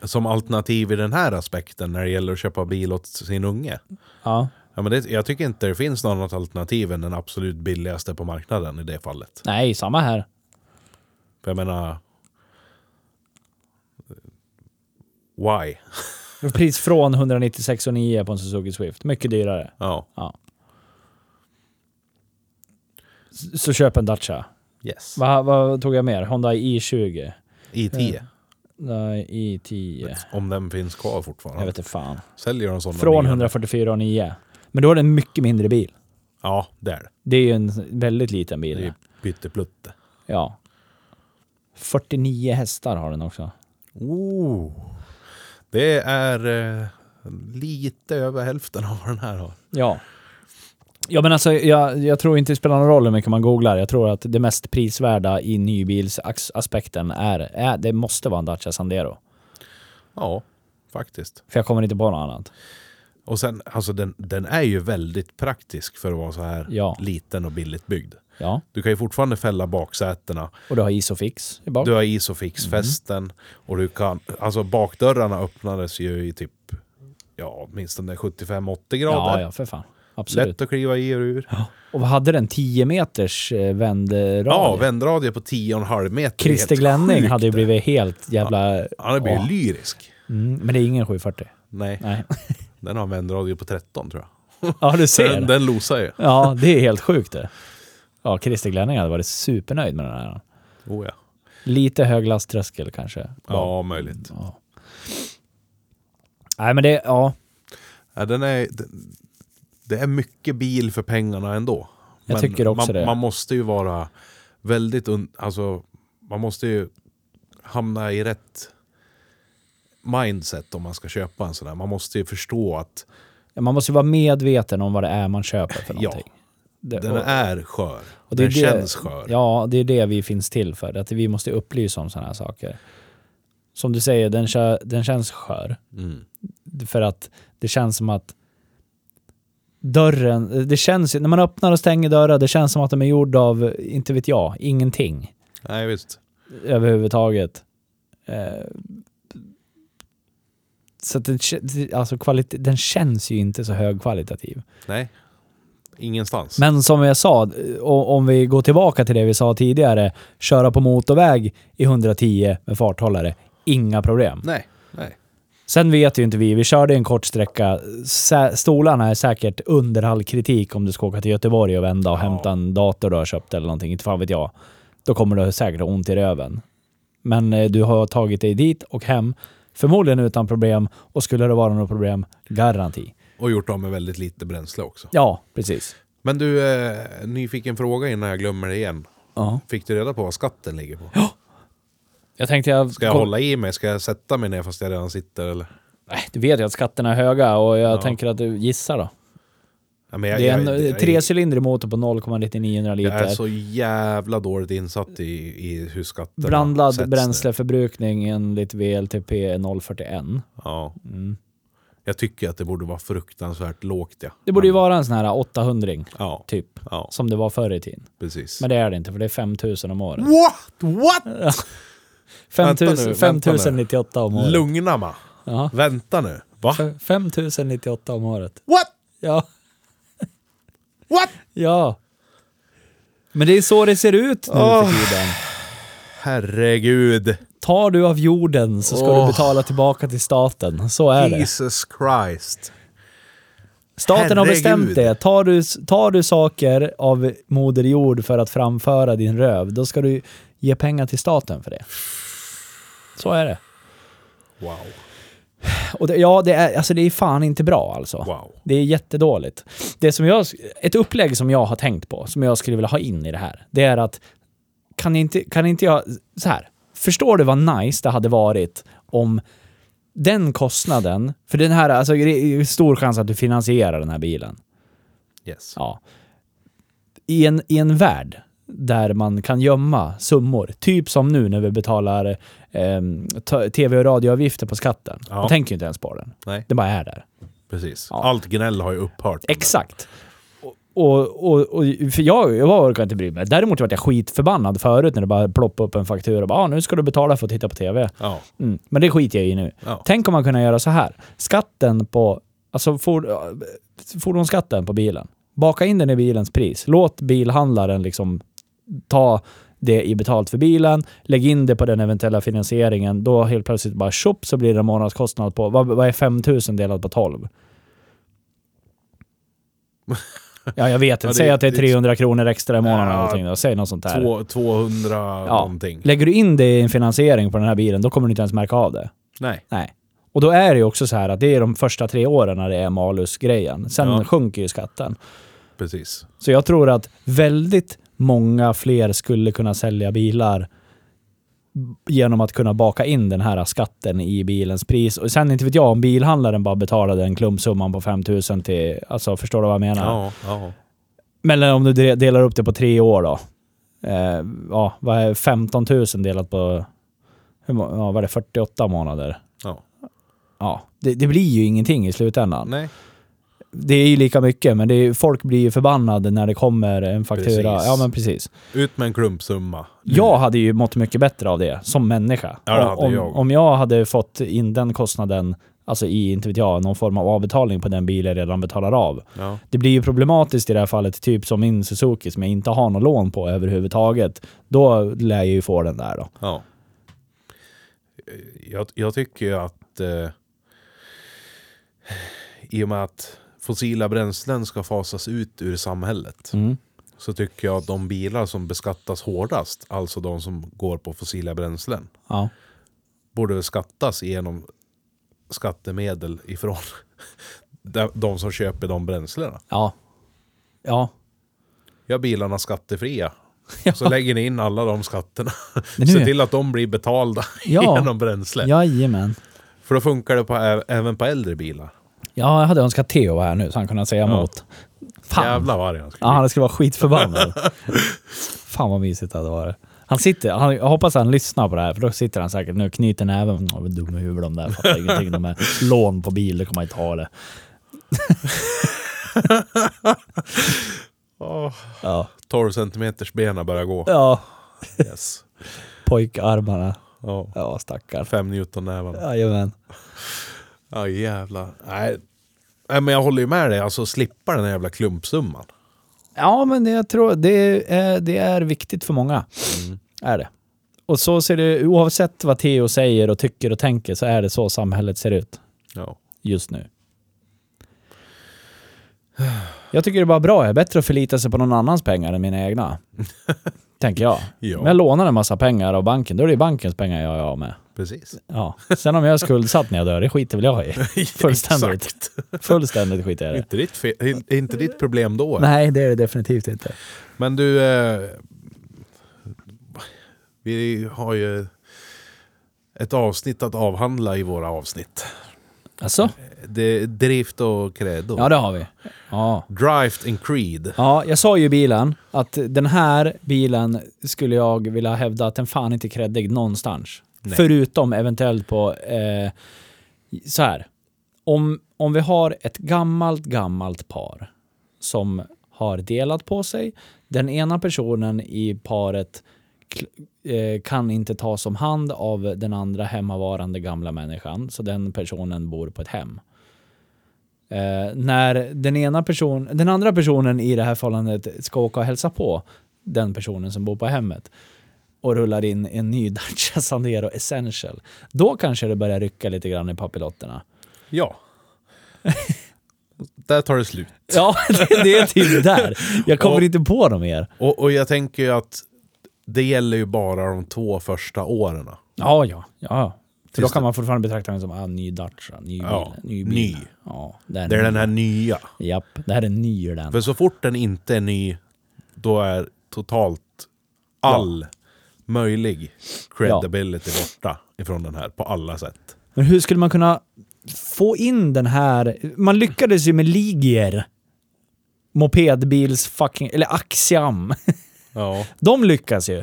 Som alternativ i den här aspekten när det gäller att köpa bil åt sin unge. Ja. Ja, men det, jag tycker inte det finns något annat alternativ än den absolut billigaste på marknaden i det fallet. Nej, samma här. För jag menar... eh, Why? Pris från 196,9 på en Suzuki Swift. Mycket dyrare. Ja. Ja. S- Så köp en Dacia. Yes. Vad vad tog jag mer? Honda i20? IT. Nej, i10? Om den finns kvar Jag fortfarande. vet inte fan. Säljer de sådana Från nya? 144,9. Men då är det en mycket mindre bil. Ja, där. Det är ju en väldigt liten Det bil. är pytteplutte. Ja. 49 hästar har den också. Oh. Det är eh, lite över hälften av vad den här har. Ja. Ja men alltså jag, jag tror inte det spelar någon roll hur mycket man googlar. Jag tror att det mest prisvärda i nybilsaspekten är, är det måste vara en Dacia Sandero. Ja, faktiskt. För jag kommer inte på något annat. Och sen, alltså den, den är ju väldigt praktisk för att vara så här Ja. liten och billigt byggd. Ja, Du kan ju fortfarande fälla baksätena. och du har isofix i bak. Du har isofixfästen Mm. och du kan, alltså bakdörrarna öppnades ju i typ, ja, åtminstone 75-80 grader. ja, ja, för fan. Absolut. Lätt att kliva i och ur. Och vad hade den? 10 meters eh, vändradie? Ja, vändradier på 10,5 meter. Det är Christer helt Glenning sjukt. hade ju blivit helt jävla... Han hade blivit Ja. lyrisk. Mm, men det är ingen 740. Nej, Nej. den har vändradier på 13 tror jag. Ja, du Den, ser. den losar ju. Ja, det är helt sjukt det. Ja, Christer Glenning hade varit supernöjd med den här. Oh, ja. Lite hög lasttröskel kanske. ja, möjligt. Ja. Nej, men det... Ja. Ja, den är, den, det är mycket bil för pengarna ändå. Jag tycker också man, det. Man måste ju vara väldigt... Un, alltså, man måste ju hamna i rätt mindset om man ska köpa en sån här. Man måste ju förstå att Man måste ju vara medveten om vad det är man köper för någonting. Det- den och- är skör. och det är den det- känns skör. Ja, det är det vi finns till för. Att vi måste upplysa om sådana här saker. Som du säger, den, kö, den känns skör. Mm. För att det känns som att dörren, det känns ju- när man öppnar och stänger dörrar, det känns som att de är gjorda av, inte vet jag, ingenting Nej, visst. överhuvudtaget. Eh, Så att den, kä- alltså kvalit- den känns ju inte så högkvalitativ. Nej. Ingenstans. Men som jag sa, o- om vi går tillbaka till det vi sa tidigare, köra på motorväg i 110 med farthållare, inga problem. Nej. Nej. Sen vet ju inte vi, vi körde en kort sträcka, Sä- stolarna är säkert under all kritik om du ska åka till Göteborg och vända och Ja. hämta en dator du har köpt eller någonting, inte fan vet jag. Då kommer du säkert ha ont i röven. Men eh, du har tagit dig dit och hem, förmodligen utan problem, och skulle det vara något problem, garanti. Och gjort av med väldigt lite bränsle också. Ja, precis. Men du, eh, nyfiken fråga innan jag glömmer det igen. Ja. Fick du reda på vad skatten ligger på? Jag tänkte jag... Ska jag hålla i mig? Ska jag sätta mig ner fast jag redan sitter? Eller? Nej, du vet ju att skatterna är höga och jag Ja. tänker att du gissar då. Ja, men Det är en eh, jag- trecylindrig motor på 0,99 Jag är liter. så jävla dåligt insatt i, i hur skatterna sätts Blandad nu. bränsleförbrukning enligt VLTP 041. Ja. Mm. Jag tycker att det borde vara fruktansvärt lågt. Ja. Det borde ju Men- vara en sån här 800 Ja, typ, ja som det var förr i tiden. precis. Men det är det inte, för det är 5000 om året. What? What? 5000 nu, vänta nu. 5098 om året. Lugna mig. Ja. Vänta nu. Va? F- 5098 om året. What? Ja. What? ja. Men det är så det ser ut nu Åh. för tiden. Herregud. Tar du av jorden så ska Åh. du betala tillbaka till staten. Så är det. Jesus Christ. Staten har bestämt herregud. det. Tar du, tar du saker av moder jord för att framföra din röv, då ska du ge pengar till staten för det. Så är det. Wow. Och det, ja, det är, alltså det är fan inte bra alltså. Wow. Det är jättedåligt. Det som jag, ett upplägg som jag har tänkt på, som jag skulle vilja ha in i det här, det är att kan inte, kan inte jag... Så här. Förstår du vad nice det hade varit om den kostnaden, för den här, alltså det är ju stor chans att du finansierar den här bilen. Yes. Ja. I en, I en värld där man kan gömma summor, typ som nu när vi betalar ehm, t- tv och radioavgifter på skatten. Ja. Man tänker ju inte ens på den. Nej, Det bara är där. precis. Ja. Allt gnäll har ju upphört. Exakt. Och, och, och, för jag, jag orkar inte bry mig. Däremot var jag skitförbannad förut när det bara ploppade upp en faktura och bara ah, nu ska du betala för att titta på TV. Ja. Mm. Men det skiter jag i nu. ja. Tänk om man kunde göra så här. Skatten på, alltså for, fordonsskatten på bilen. Baka in den i bilens pris. Låt bilhandlaren liksom ta det i betalt för bilen. Lägg in det på den eventuella finansieringen. Då helt plötsligt bara tjopp så blir det en månadskostnad på, vad, vad är 5000 delat på 12? Ja, jag vet Ja, det- inte. Säg att det är det- 300 kronor extra i månaden eller Ja, någonting då. Säg något sånt där. Två, 200 någonting. Lägger du in det i en finansiering på den här bilen, då kommer du inte ens märka av det. Nej. Nej. Och då är det ju också så här att det är de första tre åren när det är malusgrejen. Sen Ja. sjunker ju skatten. Precis. Så jag tror att väldigt många fler skulle kunna sälja bilar genom att kunna baka in den här skatten i bilens pris. Och sen inte vet jag om bilhandlaren bara betalade en klumpsumman på 5000 till... Alltså förstår du vad jag menar? Ja, ja. Men om du de- delar upp det på tre år då. Eh, ja, vad är 15 000 delat på hur, må- ja, vad är det, 48 månader? ja. Ja, det, det blir ju ingenting i slutändan. Nej. Det är ju lika mycket, men det är, folk blir ju förbannade när det kommer en faktura. Precis. Mm. Ja, men precis. Ut med en klumpsumma. Jag hade ju mått mycket bättre av det som människa. Ja, det hade om, jag. om jag hade fått in den kostnaden, alltså i, inte vet jag, någon form av avbetalning på den bil jag redan betalar av. Ja. Det blir ju problematiskt i det här fallet, typ som min Suzuki som jag inte har något lån på överhuvudtaget. Då lär jag ju få den där då. Ja. Jag, jag tycker ju att eh, i och med att fossila bränslen ska fasas ut ur samhället så tycker jag att de bilar som beskattas hårdast, alltså de som går på fossila bränslen, Ja. borde väl skattas genom skattemedel ifrån de, de som köper de bränslena. Ja. Ja. Gör bilarna skattefria. Så lägger ni in alla de skatterna. Men nu- Se till att de blir betalda Ja. genom bränsle. Jajamän. För då funkar det på, ä- även på äldre bilar. Ja, jag hade önskat Theo var här nu så han kunde säga emot. Fan. Jävlar vad arg han skulle Ja, han skulle vara skitförbannad. Fan vad mysigt det hade varit. Han sitter, han, jag hoppas han lyssnar på det här för då sitter han säkert nu och knyter näven. Åh, vad dumma huvud de där, fattar ingenting. De här lån på bil, det kommer man inte ha det. bli. Åh, Ja, 12 centimeters bena börjar gå. ja Yes. pojkarmarna. Ja. Ja, stackar. Fem Newton näven. Jajamän. Ja jävlar. Nej. Nej men jag håller ju med dig. Alltså slippa den här jävla klumpsumman. Ja, men det, jag tror det är, det är viktigt för många. Mm. Är det. Och så ser det, oavsett vad Theo säger och tycker och tänker, så är det så samhället ser ut Ja. just nu. Jag tycker det är bara bra. Det är bättre att förlita sig på någon annans pengar än mina egna. tänker jag. Ja. Om jag lånar en massa pengar av banken, då är det ju bankens pengar jag är av med. Precis. Ja. Sen om jag är skuldsatt när jag dör, det skiter väl jag i. Fullständigt. Exakt. Fullständigt skiter jag i det. Inte ditt, fe- inte ditt problem då. Nej, det är det definitivt inte. Men du, eh, vi har ju ett avsnitt att avhandla i våra avsnitt. Alltså? Det är drift och credo. Ja, det har vi. Ja. Drift and creed. ja, jag sa ju i bilen att den här bilen skulle jag vilja hävda att den fan inte är creddig någonstans. Nej. Förutom eventuellt på... Eh, så här. Om, om vi har ett gammalt, gammalt par som har delat på sig. Den ena personen i paret kl- eh, kan inte tas om hand av den andra hemmavarande gamla människan, så den personen bor på ett hem. Eh, när den, ena person, den andra personen i det här förhållandet ska åka och hälsa på den personen som bor på hemmet och rullar in en ny Dacia Sandero Essential, då kanske det börjar rycka lite grann i papillotterna. Ja. Där tar det slut. Ja, det, det är till där. Jag kommer Och- inte på dem mer. Och, och jag tänker ju att det gäller ju bara de två första åren. Mm. Ja, ja, ja. För då Tills kan det- man fortfarande betrakta den som ah, ny Dacia, ny bil. Ja, ny. Bil. ny. Ja, det är, Det är den den här nya. Japp, det här är ny ur den. För så fort den inte är ny, då är totalt all möjlig credibility borta ifrån den här på alla sätt. Men hur skulle man kunna få in den här... Man lyckades ju med Ligier. Mopedbils fucking... Eller Axiam. Ja, De lyckas ju.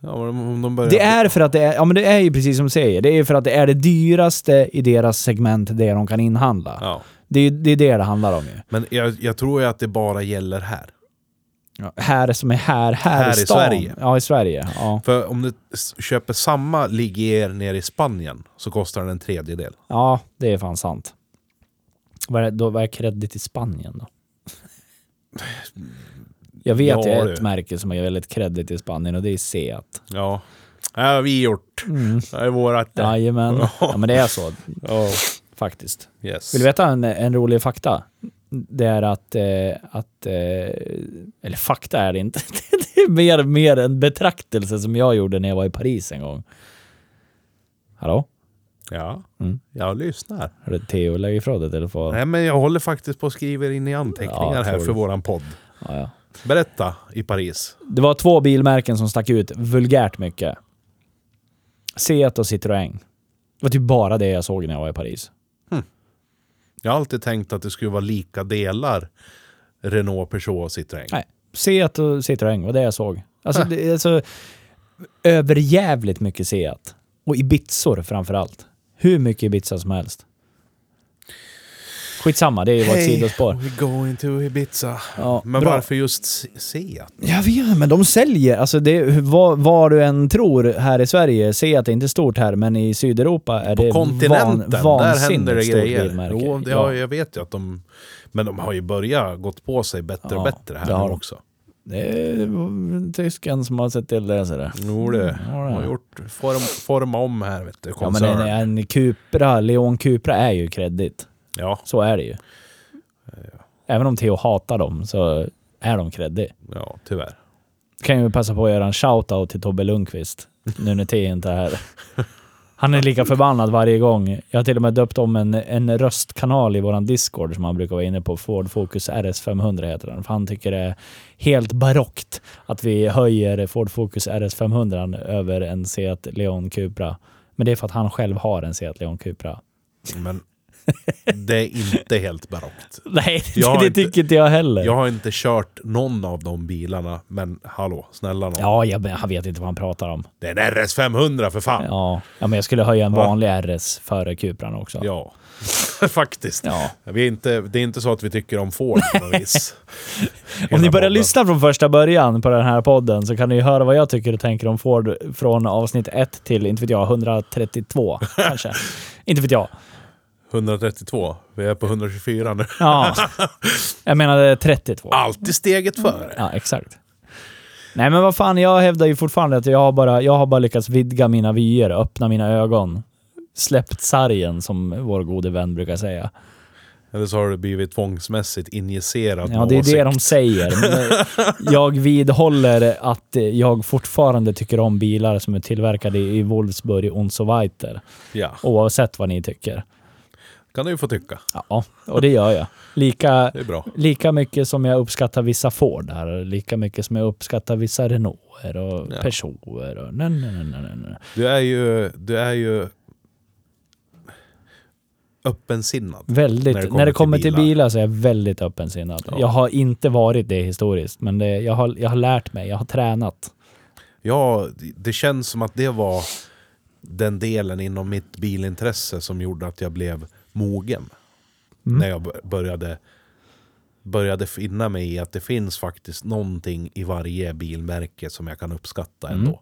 ja men om de börjar... Det är för att det är... Ja men det är ju precis som du säger. Det är ju för att det är det dyraste i deras segment, det de kan inhandla. Ja. Det är det är det det handlar om ju. Men jag, jag tror ju att det bara gäller här. Här som är här, här, Här i i stan. Sverige. Ja, i Sverige. Ja, För om du s- köper samma Ligier nere i Spanien så kostar den en tredjedel. ja det är fan sant. Vad är, då, vad är kredit i Spanien då? Jag vet Ja, ju ett du. märke som är väldigt kredit i Spanien och det är Seat. Ja. Det har vi gjort. Mm. Det är vårat. Ja. Jajamän. Ja, men det är så faktiskt. Vill du veta en, en rolig fakta? Det är att, eh, att eh, eller fakta är det inte. Det är mer, mer en betraktelse som jag gjorde när jag var i Paris en gång. Hallå? Ja, Mm. jag lyssnar. Hörde Theo lägga ifrån dig telefonen? Nej, men jag håller faktiskt på och skriver in i anteckningar Ja, jag här tror för det. våran podd. Ja, ja. Berätta i Paris. Det var två bilmärken som stack ut vulgärt mycket. Seat och Citroën. Det var typ bara det jag såg när jag var i Paris. Jag har alltid tänkt att det skulle vara lika delar Renault, Peugeot och Citroën. Nej, Seat och Citroën var det jag såg. Alltså, det är så överjävligt mycket Seat. Och Ibizor framför allt. Hur mycket Ibiza som helst. Skitsamma, det är ju bara ett sidospår. we're going to Ibiza. Ja, Men bra. varför just Se- Seat? Jag vet men de säljer. Alltså det, vad, vad du än tror här i Sverige, se att det inte är stort här, men i Sydeuropa är På det kontinenten, van, där händer det vansinnigt stort grejer. bilmärke. Jo, det, Ja. ja. Jag vet ju att de... Men de har ju börjat gått på sig bättre och Ja, bättre det här har nu de. också. Det är tysken som har sett till det. Så det. Jo, det Mm, Ja, det de har är. gjort form, forma om här, vet du. Ja, men en, Koncern. Ja, en Cupra, Leon Cupra är ju kreddigt. ja, Så är det ju. Även om Theo hatar dem så är de kreddig. tyvärr. Kan ju passa på att göra en shout-out till Tobbe Lundqvist, nu när Theo inte är här. Han är lika förbannad varje gång. Jag har till och med döpt om en, en röstkanal i våran Discord som han brukar vara inne på. Ford Focus RS500 heter den. För han tycker det är helt barockt att vi höjer Ford Focus RS500 över en Seat Leon Cupra. Men det är för att han själv har en Seat Leon Cupra. Men det är inte helt barockt. Nej, Jag har det, inte- tycker inte jag heller. Jag har inte kört någon av de bilarna, men hallå, snälla nån. Ja, jag, jag vet inte vad han pratar om. Det är en RS 500 för fan! Ja, Ja, ja men jag skulle höja en Va? vanlig RS före Cupran också. faktiskt. Ja. Vi är inte, det är inte så att vi tycker om Ford på något vis. Om ni Hela börjar podden. lyssna från första början på den här podden så kan ni ju höra vad jag tycker och tänker om Ford från avsnitt 1 till, inte vet jag, 132 kanske. Inte vet jag. 132, vi är på 124 nu. Ja. Jag menade 32. Alltid steget före. Ja, exakt. Nej men vad fan, jag hävdar ju fortfarande att jag har bara, jag har bara lyckats vidga mina vyer, öppna mina ögon. Släppt sargen som vår gode vän brukar säga. Eller så har du blivit tvångsmässigt injicerad Ja, det är åsikt. det de säger. Men eh, jag vidhåller att eh, jag fortfarande tycker om bilar som är tillverkade i Wolfsburg och så weiter. Ja, Oavsett vad ni tycker. kan du ju få tycka. Ja, och det gör jag. Lika, Det är bra. lika mycket som jag uppskattar vissa Fordar, lika mycket som jag uppskattar vissa Renaulter och Ja. Peugeoter. Och nej, nej, nej, nej, nej. Du är ju, du är ju öppensinnad. Väldigt, När det när kommer det kommer, till till, bilar. bilar. så är jag väldigt öppensinnad. Ja. Jag har inte varit det historiskt, men det, jag, har, jag har lärt mig, jag har tränat. Ja, det känns som att det var den delen inom mitt bilintresse som gjorde att jag blev mogen. Mm. När jag bör- började, började finna mig i att det finns faktiskt någonting i varje bilmärke som jag kan uppskatta Mm. ändå.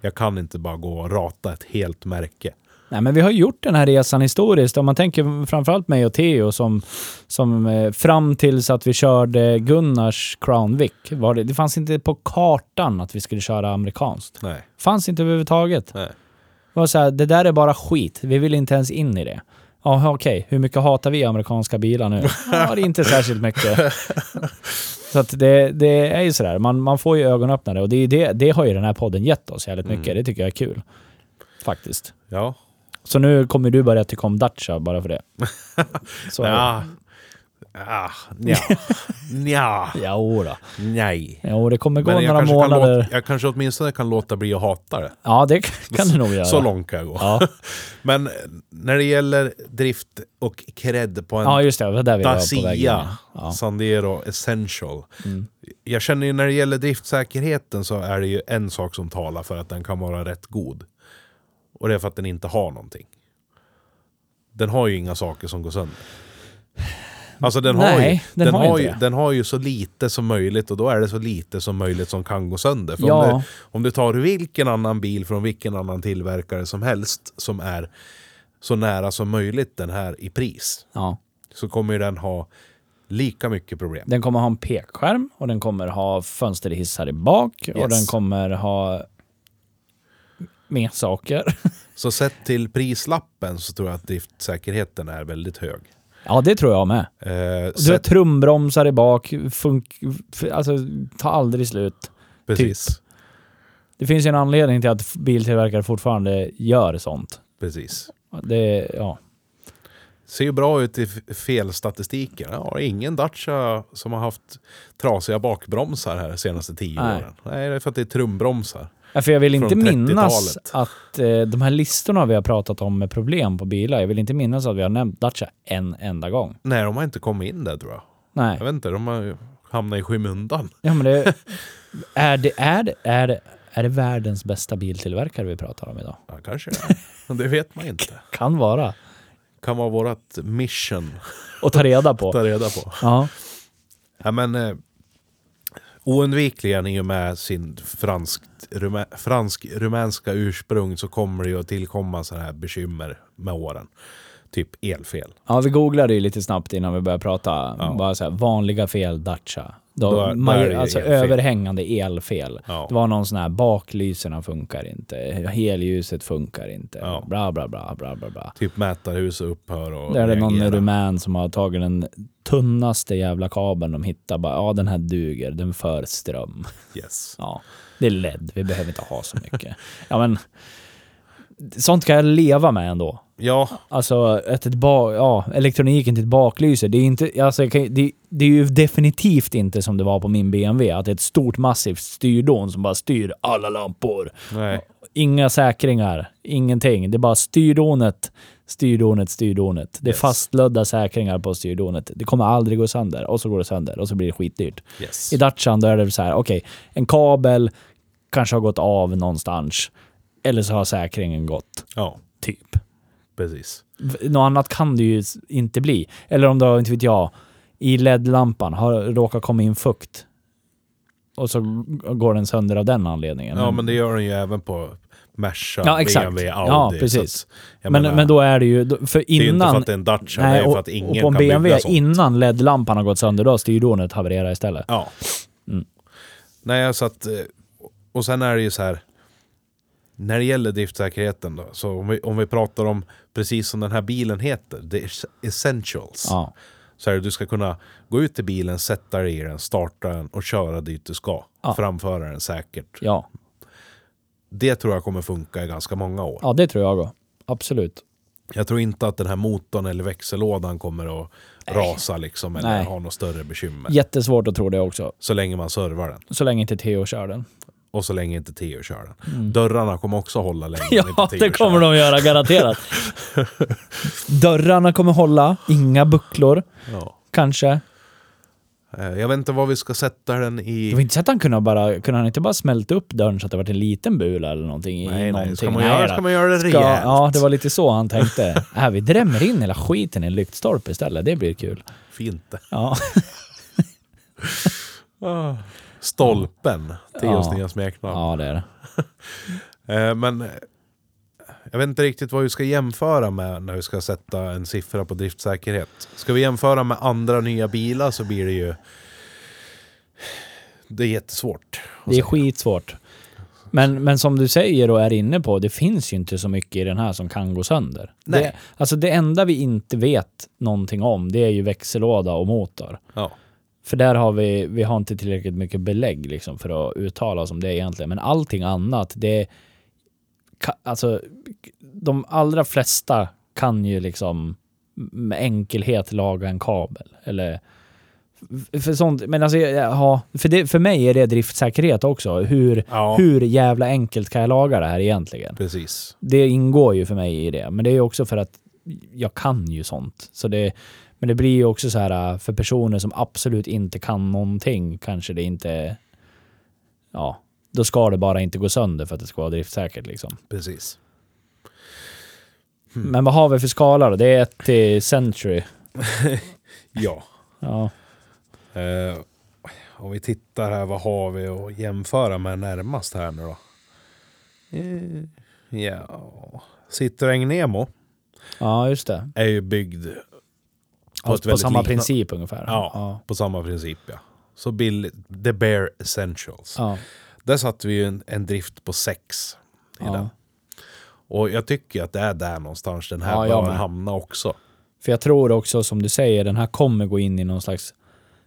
Jag kan inte bara gå och rata ett helt märke. Nej, men vi har gjort den här resan historiskt. Om man tänker framförallt mig och Theo som, som eh, fram tills att vi körde Gunnars Crown Vic. Var det, det fanns inte på kartan att vi skulle köra amerikanskt. Nej. Fanns inte överhuvudtaget. Nej. Det var så här, det där är bara skit. Vi vill inte ens in i det. Ja, okej. Hur mycket hatar vi amerikanska bilar nu? Ja, det är inte särskilt mycket. Så att det, det är ju sådär. Man, man får ju ögonöppnare och det, är ju det, det har ju den här podden gett oss jävligt mycket. Det tycker jag är kul. Faktiskt. Ja. Så nu kommer du börja tycka om Dacia bara för det. Så, Ja. Ah, nja. nja. Ja, då. Nej. Ja, och det kommer gå Men jag några kanske, kan månader. låta, jag kanske åtminstone kan låta bli att hata det. Ja, det kan du nog göra. Så långt kan jag gå. Ja, Men när det gäller drift och cred på en ja just det. Det var där vi var på väg in. Dacia Ja. Mm. Sandero Essential. Jag känner ju när det gäller driftsäkerheten så är det ju en sak som talar för att den kan vara rätt god. Och det är för att den inte har någonting. Den har ju inga saker som går sönder. Alltså den, har, ju, Nej, den har har inte ju, det. den har ju så lite som möjligt och då är det så lite som möjligt som kan gå sönder. För om, Ja. du, om du tar vilken annan bil från vilken annan tillverkare som helst som är så nära som möjligt den här i pris Ja. så kommer ju den ha lika mycket problem. Den kommer ha en pekskärm och den kommer ha fönsterhissar i bak och Yes. den kommer ha mer saker. Så sett till prislappen så tror jag att driftsäkerheten är väldigt hög. Ja, det tror jag med. Eh, Du har sett, trumbromsar i bak, funk, f- alltså ta aldrig slut. precis, Det finns ju en anledning till att f- biltillverkare fortfarande gör sånt. precis. Det, ja. Ser ju bra ut i f- felstatistiken. Ja, ingen Dacia som har haft trasiga bakbromsar här de senaste tio Nej. åren. Nej, det är för att det är trumbromsar. Ja, för jag vill inte Från minnas 30-talet. att eh, de här listorna vi har pratat om med problem på bilar, jag vill inte minnas att vi har nämnt Dacia en enda gång. Nej, de har inte kommit in där tror jag. Nej. Jag vet inte, de har ju hamnat i skymundan. Ja, men det, är, det, är, det, är, det, är det världens bästa biltillverkare vi pratar om idag? Ja, kanske det. Men Det vet man inte. Kan vara. Kan vara vårt mission Och ta reda att på. ta reda på. Ja. Ja, men, eh, oundvikligen i och med sin franskt, rumä, fransk-rumänska ursprung så kommer det ju att tillkomma sådana här bekymmer med åren. Typ elfel. ja, vi googlade ju lite snabbt innan vi började prata. Ja. Bara så här, vanliga fel Dacia. Då, Då är- då maj- är det ju alltså elfel. överhängande elfel. Ja. Det var någon sån här baklyserna funkar inte, helljuset funkar inte, Ja. bla bla bla bla bla bla. Typ mätarhus och upphör och Där är det någon reagera. rumän som har tagit den tunnaste jävla kabeln de hittar. Bara, ja, den här duger, den för ström. Yes. Ja, det är LED, vi behöver inte ha så mycket. ja, men sånt kan jag leva med ändå. Ja, Alltså, ett, ett ba- ja, elektroniken till ett baklyse, det är, inte, alltså, jag kan- det, det är ju definitivt inte som det var på min BMW, att det är ett stort massivt styrdon som bara styr alla lampor. nej. Inga säkringar, ingenting. Det är bara styrdonet, styrdonet, styrdonet. Det är Yes. fastlödda säkringar på styrdonet. Det kommer aldrig gå sönder och så går det sönder och så blir det skitdyrt. Yes. I Dacian då är det så här, okej, en kabel kanske har gått av någonstans eller så har säkringen gått, Ja, typ. precis. V- Något annat kan det ju s- inte bli. Eller om det har, inte vet jag, i LED-lampan har råkat komma in fukt. Och så g- går den sönder av den anledningen. Ja, men det gör den ju även på Merca, Ja, exakt. BMW, Audi. Ja, så precis. att, jag men, menar, men då är det ju, då- för det är ju inte för innan... att det är en Dacia, det nej, är och, för att ingen och på en kan bygga BMW sånt. innan LED-lampan har gått sönder, då har styrdonet havererat istället. Ja. Mm. Nej, så att... eh, Och sen är det ju så här. När det gäller driftsäkerheten då, så om vi, om vi pratar om precis som den här bilen heter, the es- essentials. Ja. Så är det, du ska kunna gå ut i bilen, sätta dig i den, starta den och köra dit du ska. Ja. Framföra den säkert. ja. Det tror jag kommer funka i ganska många år. Ja, det tror jag går. Absolut. Jag tror inte att den här motorn eller växellådan kommer att rasa liksom eller Nej. ha något större bekymmer. Jättesvårt att tro det också. Så länge man servar den. Så länge inte Theo kör den. Och så länge inte Theo kör den. Dörrarna kommer också hålla länge. när Mm. Ja, inte Theo det kommer kör. de göra garanterat. Dörrarna kommer hålla, inga bucklor Ja. kanske. Eh, Jag vet inte vad vi ska sätta den Jag vill i. inte säga att han kunde ha bara, kunde han inte bara smält upp dörren så att det varit en liten bula eller någonting i Nej, någonting? nej. Ska man, göra, då. ska man göra det Ska- rejält? Ja, det var lite så han tänkte. äh, vi drämmer in hela skiten i en lyktstolpe istället, det blir kul. Fint det. Ja, Stolpen. Theos Ah. Ja. nya smeknamn. ja det är det. Eh, Men eh, jag vet inte riktigt vad vi ska jämföra med när vi ska sätta en siffra på driftsäkerhet. Ska vi jämföra med andra nya bilar så blir det ju... Det är jättesvårt. att Det är säga. skitsvårt. Men, men som du säger och är inne på, det finns ju inte så mycket i den här som kan gå sönder. Nej. Det, alltså det enda vi inte vet någonting om, det är ju växellåda och motor. Ja. För där har vi, vi har inte tillräckligt mycket belägg liksom för att uttala oss om det egentligen. Men allting annat, det... ka- Alltså, de allra flesta kan ju liksom med enkelhet laga en kabel. Eller... f- För sånt, men alltså, ja, för, det, för mig är det driftsäkerhet också. Hur, Ja. hur jävla enkelt kan jag laga det här egentligen? Precis. det ingår ju för mig i det. Men det är ju också för att jag kan ju sånt. Så det, men det blir ju också så här äh, för personer som absolut inte kan någonting kanske det inte... Ja, då ska det bara inte gå sönder för att det ska vara driftsäkert liksom. Precis. Hmm. Men vad har vi för skala då? Det är ett till Century. Ja. Ja, Eh, om vi tittar här, vad har vi att jämföra med närmast här nu då? Eh, Ja. Citroën Nemo ja just det. är ju byggd På, ett på väldigt samma likna- princip ungefär. Ja, ja. på samma princip ja. Så billigt, the bare essentials. ja. Där satte vi ju en, en drift på 6 i Ja. den. Och jag tycker att det är där någonstans den Ja, här jag bör med. hamna också. För jag tror också som du säger, den här kommer gå in i någon slags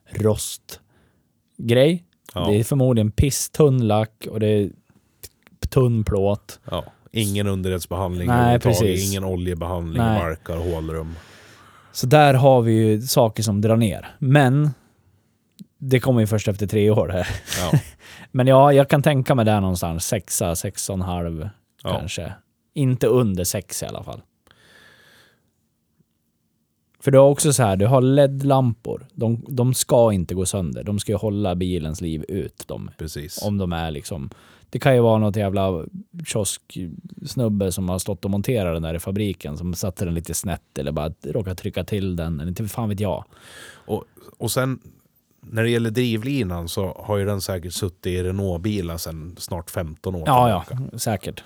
rostgrej. Ja. Det är förmodligen piss-tunn lack och det är tunn plåt. Ja. Ingen underredsbehandling Nej, överhuvudtaget, precis. ingen oljebehandling, Nej. markar, hålrum. Så där har vi ju saker som drar ner. Men det kommer ju först efter tre år. Här. Ja. Men ja, jag kan tänka mig där någonstans. Sexa, sex och en halv Ja. kanske. Inte under sex i alla fall. För du har också så här, du har LED-lampor. De, de ska inte gå sönder. De ska ju hålla bilens liv ut. De, Precis. om de är liksom... Det kan ju vara något jävla kiosksnubbe som har stått och monterat den där i fabriken som satte den lite snett eller bara råkat trycka till den. Eller inte fan vet jag. Och, och sen när det gäller drivlinan så har ju den säkert suttit i Renault-bilar sedan snart 15 år. Ja, ja, säkert.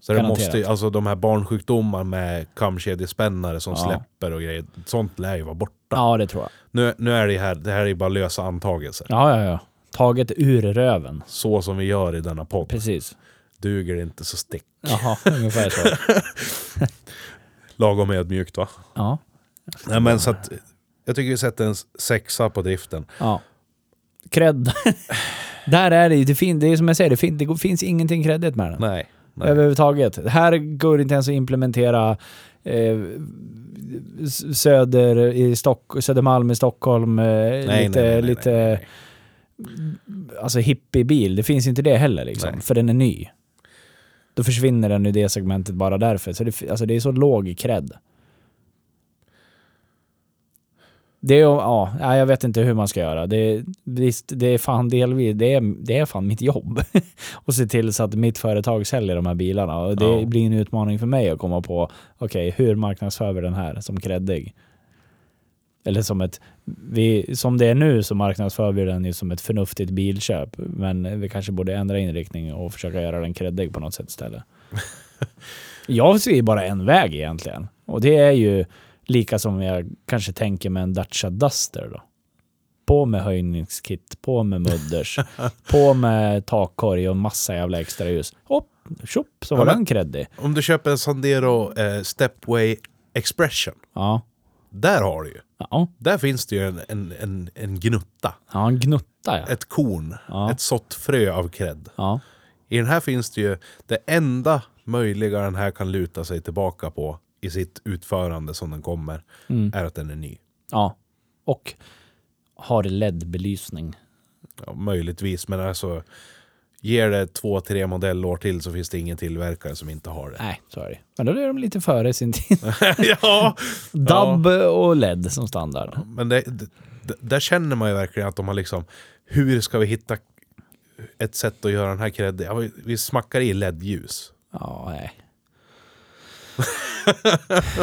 Så det Garanterat. måste, ju- alltså de här barnsjukdomar med kamkedjespännare som Ja. släpper och grejer, sånt lär ju vara borta. Ja, det tror jag. Nu, nu är det här, det här är ju bara lösa antagelser. Ja, ja, ja. Taget ur röven. Så som vi gör i denna podd. Precis. Duger det inte så stick. Jaha, ungefär så. Lagom ödmjukt va? Ja. Nej, men så att, jag tycker vi sätter en sexa på driften. ja. Cred. Där är det ju, det, fin- det är som jag säger, det, fin- det finns ingenting creddigt med den. Nej. nej. Överhuvudtaget. Här går det inte ens att implementera eh, s- söder i Stock- Södermalm i Stockholm, eh, nej, lite, nej, nej, nej, lite nej. Alltså hippiebil. Det finns inte det heller liksom, Nej. för den är ny. Då försvinner den ur det segmentet bara därför. Så det, fi- alltså, det är så låg cred. Det är, ju- ja, nej, jag vet inte hur man ska göra. Det, visst, det är fan delvis, det är, det är fan mitt jobb. och se till så att mitt företag säljer de här bilarna. Och det Ja. blir en utmaning för mig att komma på, okej, hur marknadsför vi den här som creddig? Eller som ett, vi, som det är nu så marknadsför vi den ju som ett förnuftigt bilköp. Men vi kanske borde ändra inriktning och försöka göra den creddig på något sätt istället. jag ser ju bara en väg egentligen. Och det är ju lika som jag kanske tänker med en Dacia Duster då. På med höjningskit, på med mudders, på med takkorg och massa jävla extra ljus. Hopp, tjopp, så var Ja, men- den creddig. Om du köper en Sandero eh, Stepway Expression, Ja. där har du ju. Ja, Där finns det ju en, en, en, en gnutta. ja en gnutta ja. Ett korn. Ja. Ett sått frö av cred. ja. I den här finns det ju det enda möjliga den här kan luta sig tillbaka på i sitt utförande som den kommer är att den är ny. Ja. Och har LED-belysning. Ja, möjligtvis, men alltså ger det två, tre modellår till så finns det ingen tillverkare som inte har det. Nej, så är det. Men då är de lite före sin tid. ja, Dub och LED som standard. men det, det, det- där känner man ju verkligen att de har liksom, hur ska vi hitta ett sätt att göra den här creddig? Ja, vi, vi smackar i LED-ljus. Ja, nej.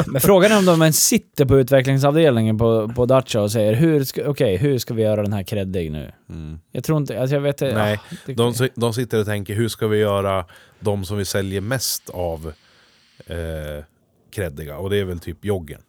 Men frågan är om de ens sitter på utvecklingsavdelningen på, på Dacia och säger hur ska, okej, hur ska vi göra den här creddig nu? Jag tror inte, alltså jag vet inte. Mm. Nej, ah, det, De, si- de sitter och tänker, hur ska vi göra de som vi säljer mest av eh, creddiga? Och det är väl typ joggen.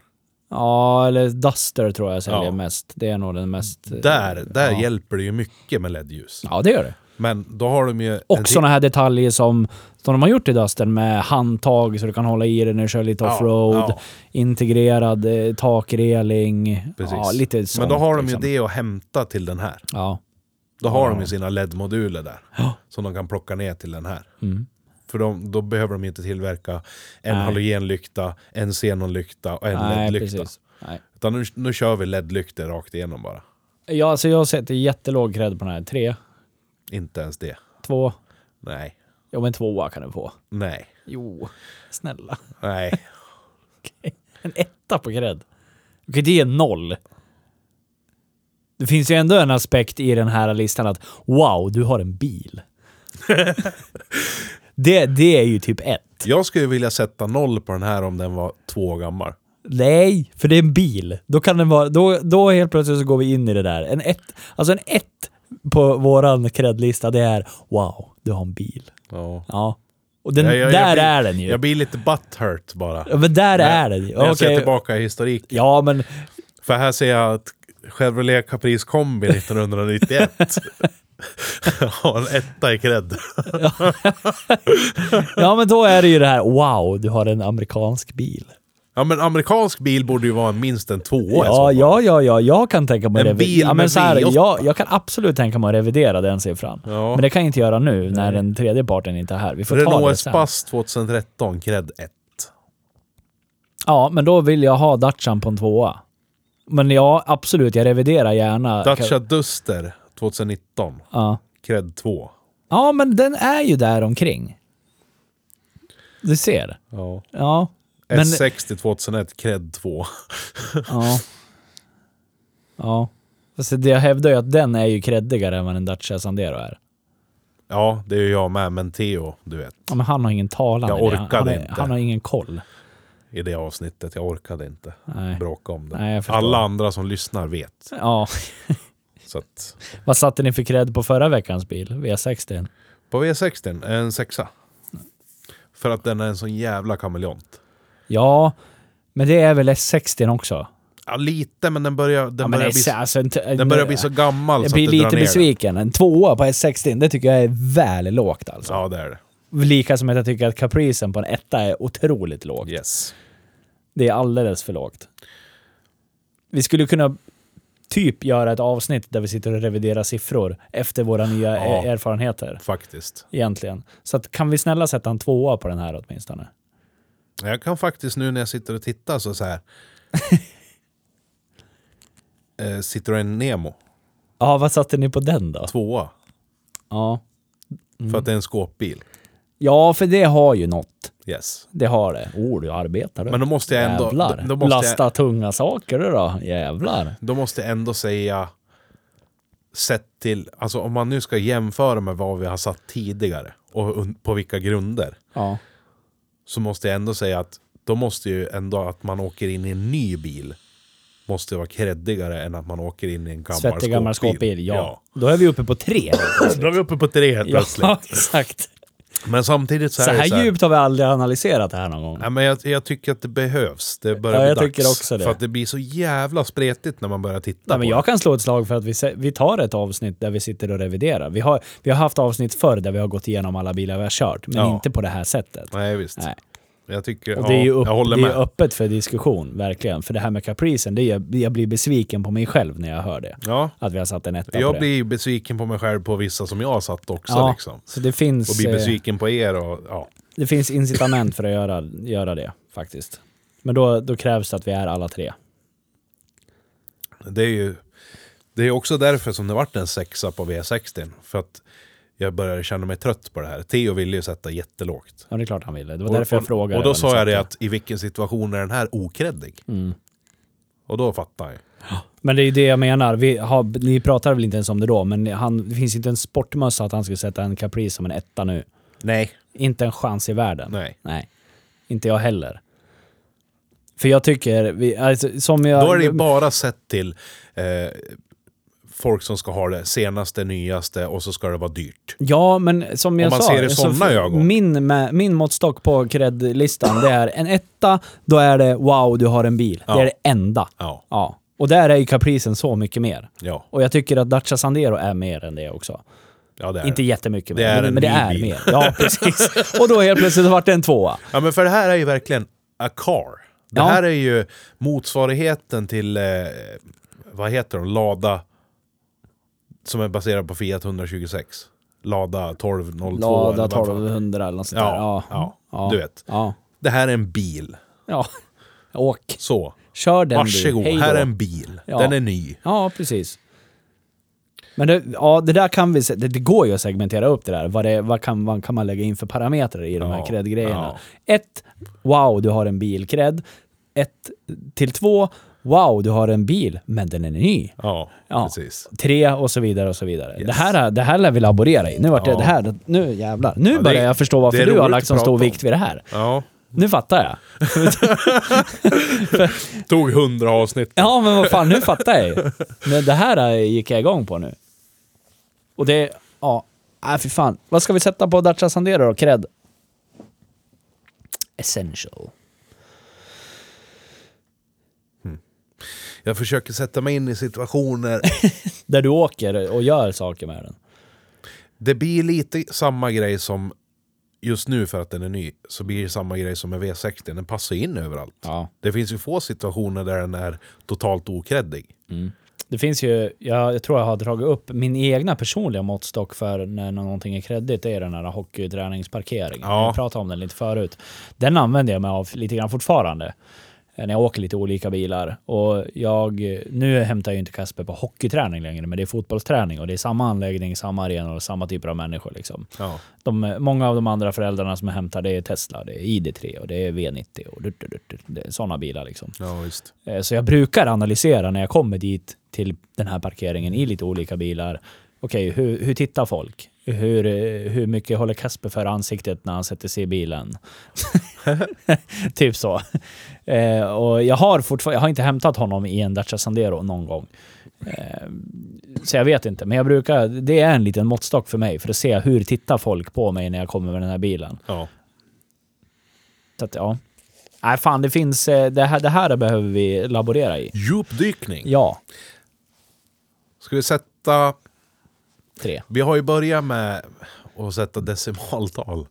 Ja, eller Duster tror jag säljer Ja. mest. Det är nog den mest... eh, Där, där ja. hjälper det ju mycket med LED-ljus. Ja, det gör det. Men då har de ju... en Och till- sådana här detaljer som, som de har gjort i Dusten med handtag så du kan hålla i den när du kör lite Ja, offroad. ja. Integrerad eh, takreling. Precis. Ja, lite sånt, Men då har de ju liksom. det att hämta till den här. Ja. Då har de ju sina LED-moduler där. Som de kan plocka ner till den här. Mm. För de, då behöver de inte tillverka en Nej. halogenlykta, en xenonlykta och en Nej, LED-lykta. precis. Nej. Utan nu, nu kör vi LED-lyktor rakt igenom bara. Ja, så jag sätter jättelåg cred på den här. Tre, Inte ens det. två, Nej. ja men tvåa kan du få. Nej. Jo, snälla. Nej. En etta på cred. Okej, det är noll. Det finns ju ändå en aspekt i den här listan att wow, du har en bil. det, det är ju typ ett. Jag skulle vilja sätta noll på den här om den var två år gammal. Nej, för det är en bil. Då kan den vara, då, då helt plötsligt så går vi in i det där. En ett, alltså en ett på våran credlista det är wow, du har en bil. Ja. Ja. Och den, Ja, jag- där jag blir- är den ju. Jag blir lite butthurt bara. ja, men där När- är den ju. När jag ser Okej. tillbaka i historik. Ja, men För här ser jag att Chevrolet Caprice Kombi 1991 har en etta i cred. Ja, men då är det ju det här, wow, du har en amerikansk bil. Ja men amerikansk bil borde ju vara minst en tvåa. i så Ja, fall. ja, ja, ja, jag kan tänka mig En att revi- bil ja, men med så här, V8. jag, jag kan absolut tänka mig att revidera den siffran. Ja. Men det kan jag inte göra nu när den tredje parten inte är här. Vi får ta det Renault sen. Espace 2013, cred 1. Ja, men då vill jag ha Dacian på en tvåa. Men ja, absolut, jag reviderar gärna. Dacia Duster 2019. Ja. Cred 2. ja, men den är ju där omkring. Du ser. Ja. Ja. Men, S60 2001, cred 2. ja. Ja. Fast det jag hävdar ju att den är ju kreddigare än vad en Dacia Sandero är. Ja, det är ju jag med, men Theo, du vet, Ja, men han har ingen talan. Jag i det. Han- orkade han, har- inte. Han har ingen koll. i det avsnittet. Jag orkade inte Nej. bråka om det. Nej, jag förstår. Alla andra som lyssnar vet. Ja. Så att, Vad satte ni för cred på förra veckans bil? V60? på V60, en sexa. För att den är en sån jävla kameleont. Ja, men det är väl S60 också? Ja, lite, men den börjar, den Ja, men börjar, S- bli, alltså, en t- den börjar bli så gammal Jag så att det blir drar lite ner den. besviken. En tvåa på S60, det tycker jag är väl lågt alltså. Ja, det är det. Lika som att jag tycker att capricen på en etta är otroligt lågt. Yes. Det är alldeles för lågt. Vi skulle kunna typ göra ett avsnitt där vi sitter och reviderar siffror efter våra nya Ja. er- erfarenheter. Faktiskt. Egentligen. Så att, kan vi snälla sätta en tvåa på den här åtminstone? Jag kan faktiskt nu när jag sitter och tittar så så här. eh, Citroën Nemo, Ja, vad satte ni på den då? tvåa. Ja. För Mm. att det är en skåpbil. ja, för det har ju något. Yes. Det har det. Oh, du arbetar du. Men då måste jag ändå... Jävlar. Då måste Lasta jag, tunga saker du då. Jävlar. då måste jag ändå säga... Sett till... Alltså om man nu ska jämföra med vad vi har satt tidigare och un- på vilka grunder. Ja. Så måste jag ändå säga att då måste ju ändå att man åker in i en ny bil måste vara kreddigare än att man åker in i en gammal Svettig gammal skåpbil, skåpbil. ja. Då är vi uppe på tre. Då är vi uppe på tre helt plötsligt. ja, exakt. Men samtidigt så, Så är det här djupt har vi aldrig analyserat det här någon gång. Nej, men jag, jag tycker att det behövs. Det börjar Ja, bli jag dags. tycker också det. För att det blir så jävla spretigt när man börjar titta Nej, men på jag kan slå ett slag för att vi, se- vi tar ett avsnitt där vi sitter och reviderar. Vi har, vi har haft avsnitt förr där vi har gått igenom alla bilar vi har kört, men Ja. inte på det här sättet. det. Nej, visst. Nej. Jag tycker... Och Ja, det är ju upp, jag håller det är med. ju öppet för diskussion, verkligen. För det här med capricen, det är, jag blir besviken på mig själv när jag hör det. ja. Att vi har satt en etta på Jag det. blir ju besviken på mig själv på vissa som jag har satt också. ja, Liksom. så det finns, Och blir eh, besviken på er och... Ja. det finns incitament för att göra, göra det, faktiskt. Men då, då krävs det att vi är alla tre. Det är ju... Det är också därför som det vart en sexa på V60. För att jag började känna mig trött på det här. Theo ville ju sätta jättelågt. Ja, det är klart han ville. Det var därför jag och, frågade. Och då vad ni sa jag satte. Mm. det att i vilken situation är den här okreddig? Och då fattar jag. Men det är ju det jag menar. Vi har, ni pratade väl inte ens om det då, men han, det finns inte en sportmössa att han skulle sätta en Caprice som en etta nu. Nej. Inte en chans i världen. Nej. Inte jag heller. För jag tycker, vi, alltså, som jag... Då är det ju bara sett till eh, folk som ska ha det senaste, nyaste och så ska det vara dyrt. Ja, men som jag Om man sa, ser det i så såna ögon. Min, mä- min måttstock på cred-listan, det är en etta, då är det wow, du har en bil. Det Ja. är det enda. Ja, Ja. Och där är ju Capricen så mycket mer. ja, Och jag tycker att Dacia Sandero är mer än det också. ja det är Inte det. jättemycket Det mer, är men, en men det ny är bil. mer. Ja, precis. Och då helt plötsligt har det varit en tvåa. Ja, men för det här är ju verkligen a car. Det Ja. här är ju motsvarigheten till, eh, vad heter de, Lada, som är baserad på Fiat 126. Lada 1202. Lada eller vad fan. 1200 eller något sånt där. Ja, ja, du vet. Ja. Det här är en bil. ja. Åk. Så, Kör den varsågod. du. Hej då. Här är en bil. Ja. Den är ny. Ja, precis. Men det, ja, det där kan vi... se- Det, det går ju att segmentera upp det där. Vad, det, vad, kan, vad kan man lägga in för parametrar i de här Ja, cred-grejerna? Ett, wow, du har en bil cred. Ett till två, wow, du har en bil, men den är ny. Ja, Ja. precis. Tre och så vidare och så vidare. Yes. Det, här, det här lär vi laborera i. Nu vart det, Ja. det här, nu jävlar. Nu det- börjar jag förstå det varför är du har roligt lagt att så stor prata om. vikt vid det här. Ja. Nu fattar jag. Tog hundra avsnitt. Ja, men vad fan, nu fattar jag ju. Men det här eh, gick jag igång på nu. Och det, ja, nej fy fan. Vad ska vi sätta på Dacia Sandero då? Cred? Essential. Jag försöker sätta mig in i situationer. Där du åker och gör saker med den. Det blir lite samma grej som just nu för att den är ny. Så blir det samma grej som med V60. Den passar in överallt. Ja. Det finns ju få situationer där den är totalt okreddig. Det finns ju, jag, jag tror jag har dragit upp min egna personliga måttstock för när någonting är kreddigt, det är den här hockeyträningsparkeringen. Ja. Jag pratade om den lite förut. Den använder jag mig av lite grann fortfarande. eh, när jag åker lite olika bilar. Och jag, nu hämtar jag ju inte Kasper på hockeyträning längre, men det är fotbollsträning och det är samma anläggning, samma arena och samma typer av människor. Liksom. Ja. De, många av de andra föräldrarna som jag hämtar, det är Tesla, det är ID3 och det är V90 och dutt, dutt, dutt, det är sådana bilar. Liksom. ja, visst. Eh, Så jag brukar analysera när jag kommer dit till den här parkeringen i lite olika bilar. Okej, hur, hur tittar folk? Hur, eh, hur mycket håller Kasper för ansiktet när han sätter sig i bilen? typ så. Eh, och jag har fortfarande, jag har inte hämtat honom i en Dacia Sandero någon gång. Eh, så jag vet inte, men jag brukar, det är en liten måttstock för mig för att se hur tittar folk på mig när jag kommer med den här bilen. Ja. Så att, ja. Nej, fan, det finns, eh, det här, det här behöver vi laborera i. Djupdykning. Ja. Ska vi sätta... Tre. Vi har ju börjat med att sätta decimaltal.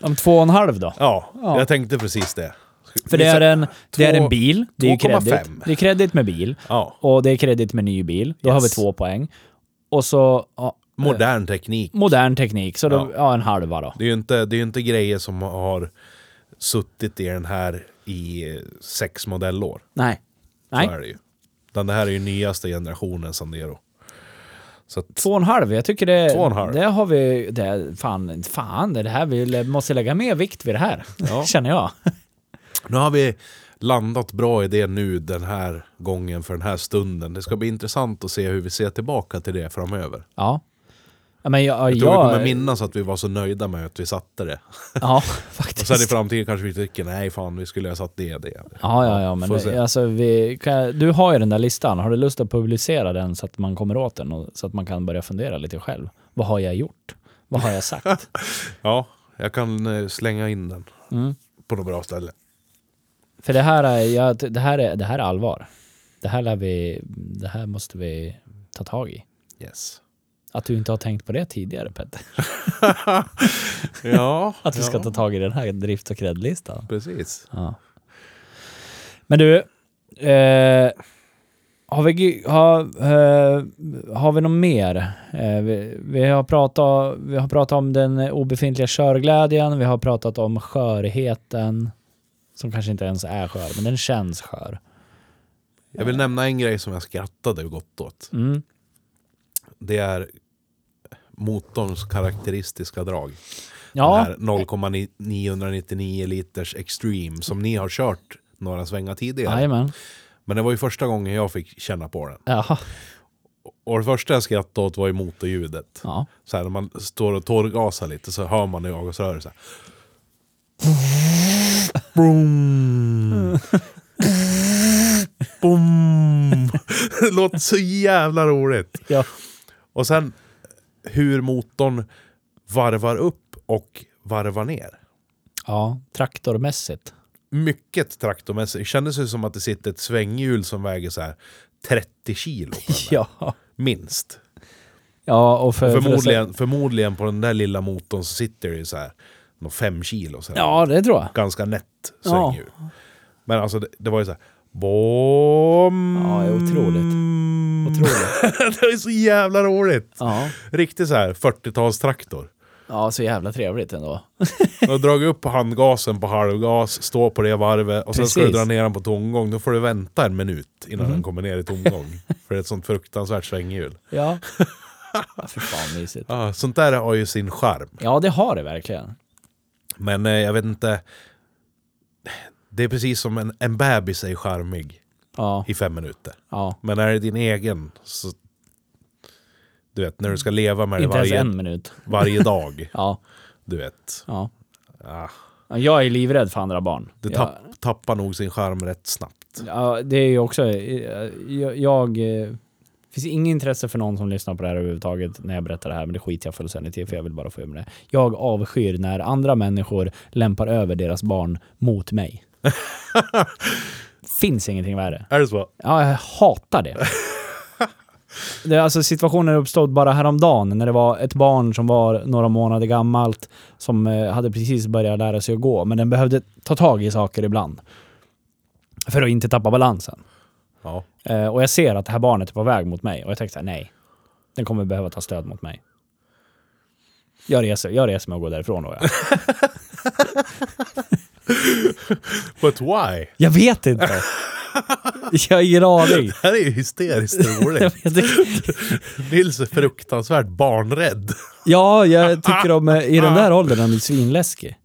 Om två och en halv då? Ja, Ja. jag tänkte precis det. Ska- För vi det är sätter- en, det är en två- bil, det är ju kredit. 2,5. Det är kredit med bil Ja, och det är kredit med ny bil. Då har vi Yes. två poäng. Och så ja, modern teknik. modern teknik, så då, ja. Ja. en halva då. Det är ju inte, det är ju inte grejer som har suttit i den här i eh, sex modellår. Nej. Nej. Nej, Så är det ju. Utan det här är ju nyaste generationen Sandero. Så att, två och en halv. Jag tycker det, Två och en halv. det har vi... Det, fan, fan, det här vi måste lägga mer vikt vid det här, Ja. känner jag. nu har vi landat bra i det nu den här gången för den här stunden. Det ska bli intressant att se hur vi ser tillbaka till det framöver. Ja. Ja, Men jag, Jag tror vi kommer jag, minnas att vi var så nöjda med att vi satte det. ja, Och faktiskt. sen i framtiden kanske vi tycker nej fan vi skulle ha satt det. det. Ja, ja, ja. Men Får se. det, alltså, vi, kan, jag- du har ju den där listan. Har du lust att publicera den så att man kommer åt den och så att man kan börja fundera lite själv? Vad har jag gjort? Vad har jag sagt? Ja, jag kan eh, slänga in den Mm. på något bra ställe. För det här, är, jag, det, här är, det här är allvar. Det här, lär vi, det här måste vi ta tag i. Yes. Att du inte har tänkt på det tidigare, Petter. Ja, Att vi ska ja, ta tag i den här drift och kreditlistan. Precis. Ja. Men du, eh, har, vi, gi- har, eh, har vi något mer? Eh, vi, vi, har pratat, vi har pratat om den obefintliga körglädjen, vi har pratat om skörheten, som kanske inte ens är skör, men den känns skör. Jag vill nämna en grej som jag skrattade gott åt. Mm. Det är motorns karaktäristiska drag. Den Ja, här 0,999 liters Extreme som ni har kört några svängar tidigare. jajamän. Men det var ju första gången jag fick känna på den. Ja, Och det första jag skrattade åt var ju motorljudet. ja. Så här, när man står och torrgasar lite så hör man i avgasrörelsen. Brum. Bum. Det låter så jävla roligt. ja. Och sen hur motorn varvar upp och varvar ner. ja traktormässigt. Mycket traktormässigt. Det kändes ju som att det sitter ett svänghjul som väger så här 30 kilo. på den där. Ja. Minst. Ja, och för, Förmodligen, förmodligen på den där lilla motorn så sitter det ju så här någon fem kilo. Så här. Ja, det tror jag. Ganska nätt Ja. svängdjur. Men alltså det, det var ju så här. Bom. Ja, det är otroligt. Otroligt. det är så jävla roligt. Ja. Riktigt så här 40-talstraktor. ja, så jävla trevligt ändå. Du har dragit upp handgasen på halvgas, står på det varvet och sen ska du Precis. dra ner den på tomgång. Då får du vänta en minut innan den kommer ner i tomgång. För det är ett sånt fruktansvärt svänghjul. Ja. ja för fan mysigt. Ah, sånt där har ju sin charm. Ja, det har det verkligen. Men eh, jag vet inte. Det är precis som en, en bebis är charmig Ja, i fem minuter. ja. Men är det din egen så... Du vet, när du ska leva med det Inte ens varje, en minut. varje dag. Ja, Du vet. ja. Ah, Ja, Jag är livrädd för andra barn. det Jag- tapp, tappar nog sin charm rätt snabbt. Ja, det är ju också... eh, Jag... jag eh, det finns inget intresse för någon som lyssnar på det här överhuvudtaget när jag berättar det här, men det skiter jag fullständigt i för jag vill bara få ur med det. Jag avskyr när andra människor lämpar över deras barn mot mig. finns ingenting värre. Är det så? Ja, jag hatar det. det är alltså situationen uppstod bara häromdagen när det var ett barn som var några månader gammalt som eh, hade precis börjat lära sig att gå, men den behövde ta tag i saker ibland. För att inte tappa balansen. Ja. Eh, och jag ser att det här barnet är på väg mot mig och jag tänkte så här, nej. Den kommer behöva ta stöd mot mig. Jag reser, jag reser mig och går därifrån då. Ja. But why? Jag vet inte. Jag har ingen aning. Det här är ju hysteriskt Jag roligt. vet inte. Nils är fruktansvärt barnrädd. Ja, jag tycker om eh, i den där åldern är det svinläskig.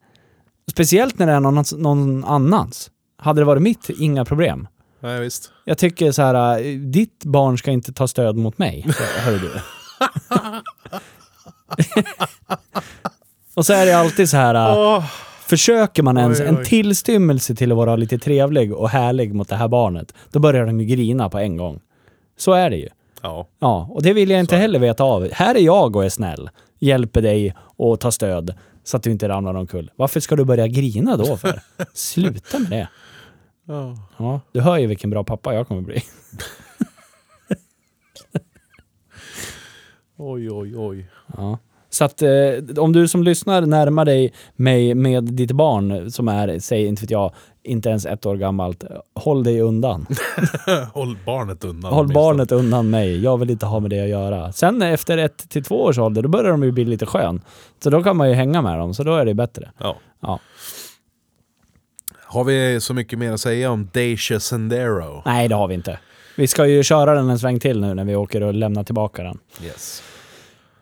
Speciellt när det är någon, någon annans. Hade det varit mitt, inga problem. Nej, visst. Jag tycker så här, eh, ditt barn ska inte ta stöd mot mig. Hör du. Och så är det alltid så här, eh, Åh, försöker man ens Oj, oj. en tillstymmelse till att vara lite trevlig och härlig mot det här barnet, då börjar de ju grina på en gång. Så är det ju. Ja, Ja, och det vill jag inte heller veta av. Här är jag och är snäll. Hjälper dig och tar stöd så att du inte ramlar omkull. Varför ska du börja grina då för? Sluta med det. Ja. Ja, du hör ju vilken bra pappa jag kommer bli. oj, oj, oj. Ja. Så att eh, om du som lyssnar närmar dig mig med ditt barn som är, säg inte vet jag, inte ens ett år gammalt. Håll dig undan. Håll barnet undan. Håll åtminstone. barnet undan mig. Jag vill inte ha med det att göra. Sen efter ett till två års ålder, då börjar de ju bli lite skön. Så då kan man ju hänga med dem, så då är det bättre. Ja. Ja. Har vi så mycket mer att säga om Dacia Sendero? Nej, det har vi inte. Vi ska ju köra den en sväng till nu när vi åker och lämnar tillbaka den. Yes.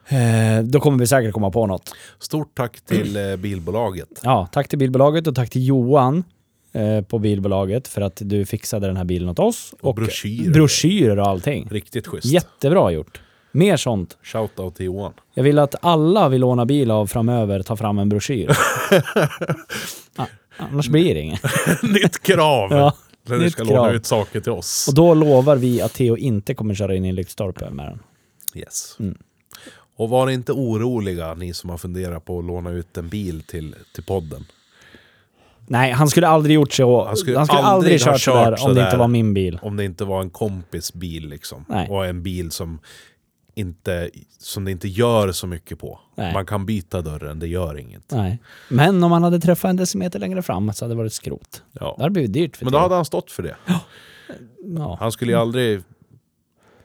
Eh, då kommer vi säkert komma på något. Stort tack till eh, bilbolaget. Ja, tack till bilbolaget och tack till Johan eh, på bilbolaget för att du fixade den här bilen åt oss. Och broschyrer. broschyrer och allting. Riktigt schysst. Jättebra gjort. Mer sånt. Shoutout till Johan. Jag vill att alla vi lånar bil av framöver tar fram en broschyr. ah, annars blir det inget. Nytt krav! Ja, När du nytt ska låna krav. ut saker till oss. Och då lovar vi att Theo inte kommer köra in i en lyktstolpe med den. Yes. Mm. Och var inte oroliga ni som har funderat på att låna ut en bil till, till podden. Nej, han skulle aldrig gjort så. Han skulle, aldrig, ha kört sådär kört om det sådär. inte var min bil. Om det inte var en kompis bil liksom. Nej. Och en bil som, inte, som det inte gör så mycket på. Nej. Man kan byta dörren, det gör inget. Nej. Men om han hade träffat en decimeter längre fram så hade det varit skrot. Det Ja. hade blivit dyrt för Men då Theo. hade han stått för det. ja. Han skulle ju aldrig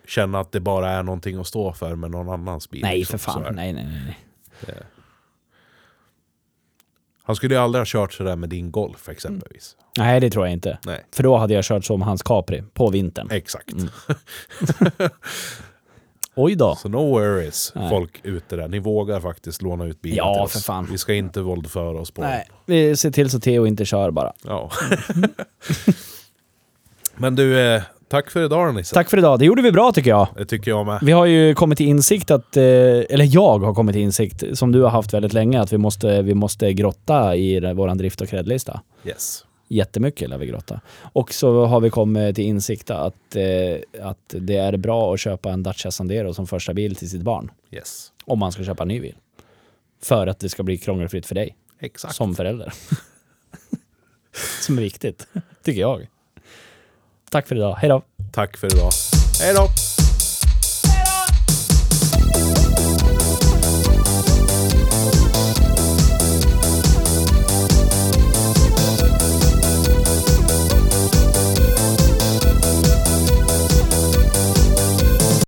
känna att det bara är någonting att stå för med någon annans bil. Nej, liksom. för Så är fan. det. Nej, nej, nej. nej. Han skulle ju aldrig ha kört sådär med din Golf exempelvis. Nej, det tror jag inte. Nej, För då hade jag kört som hans Capri på vintern. exakt. Oj då. Så no worries Nej. folk ute där. Ni vågar faktiskt låna ut bilen Ja, till oss. för fan. Vi ska inte våldföra oss på Nej, vi ser till så Theo inte kör bara. det. Ja. Men du, eh, tack för idag Nisse. Tack för idag. Det gjorde vi bra tycker jag. Det tycker jag med. Vi har ju kommit till insikt att, eh, eller jag har kommit till insikt, som du har haft väldigt länge, att vi måste, vi måste grotta i det- våran drift och kredlista. Yes. Jättemycket lär vi grotta. Och så har vi kommit till insikt att, eh, att det är bra att köpa en Dacia Sandero som första bil till sitt barn. Yes. Om man ska köpa en ny bil. För att det ska bli krångelfritt för dig Exakt. som förälder. som är viktigt, tycker jag. Tack för idag. Hej då. Tack för idag. Hej då!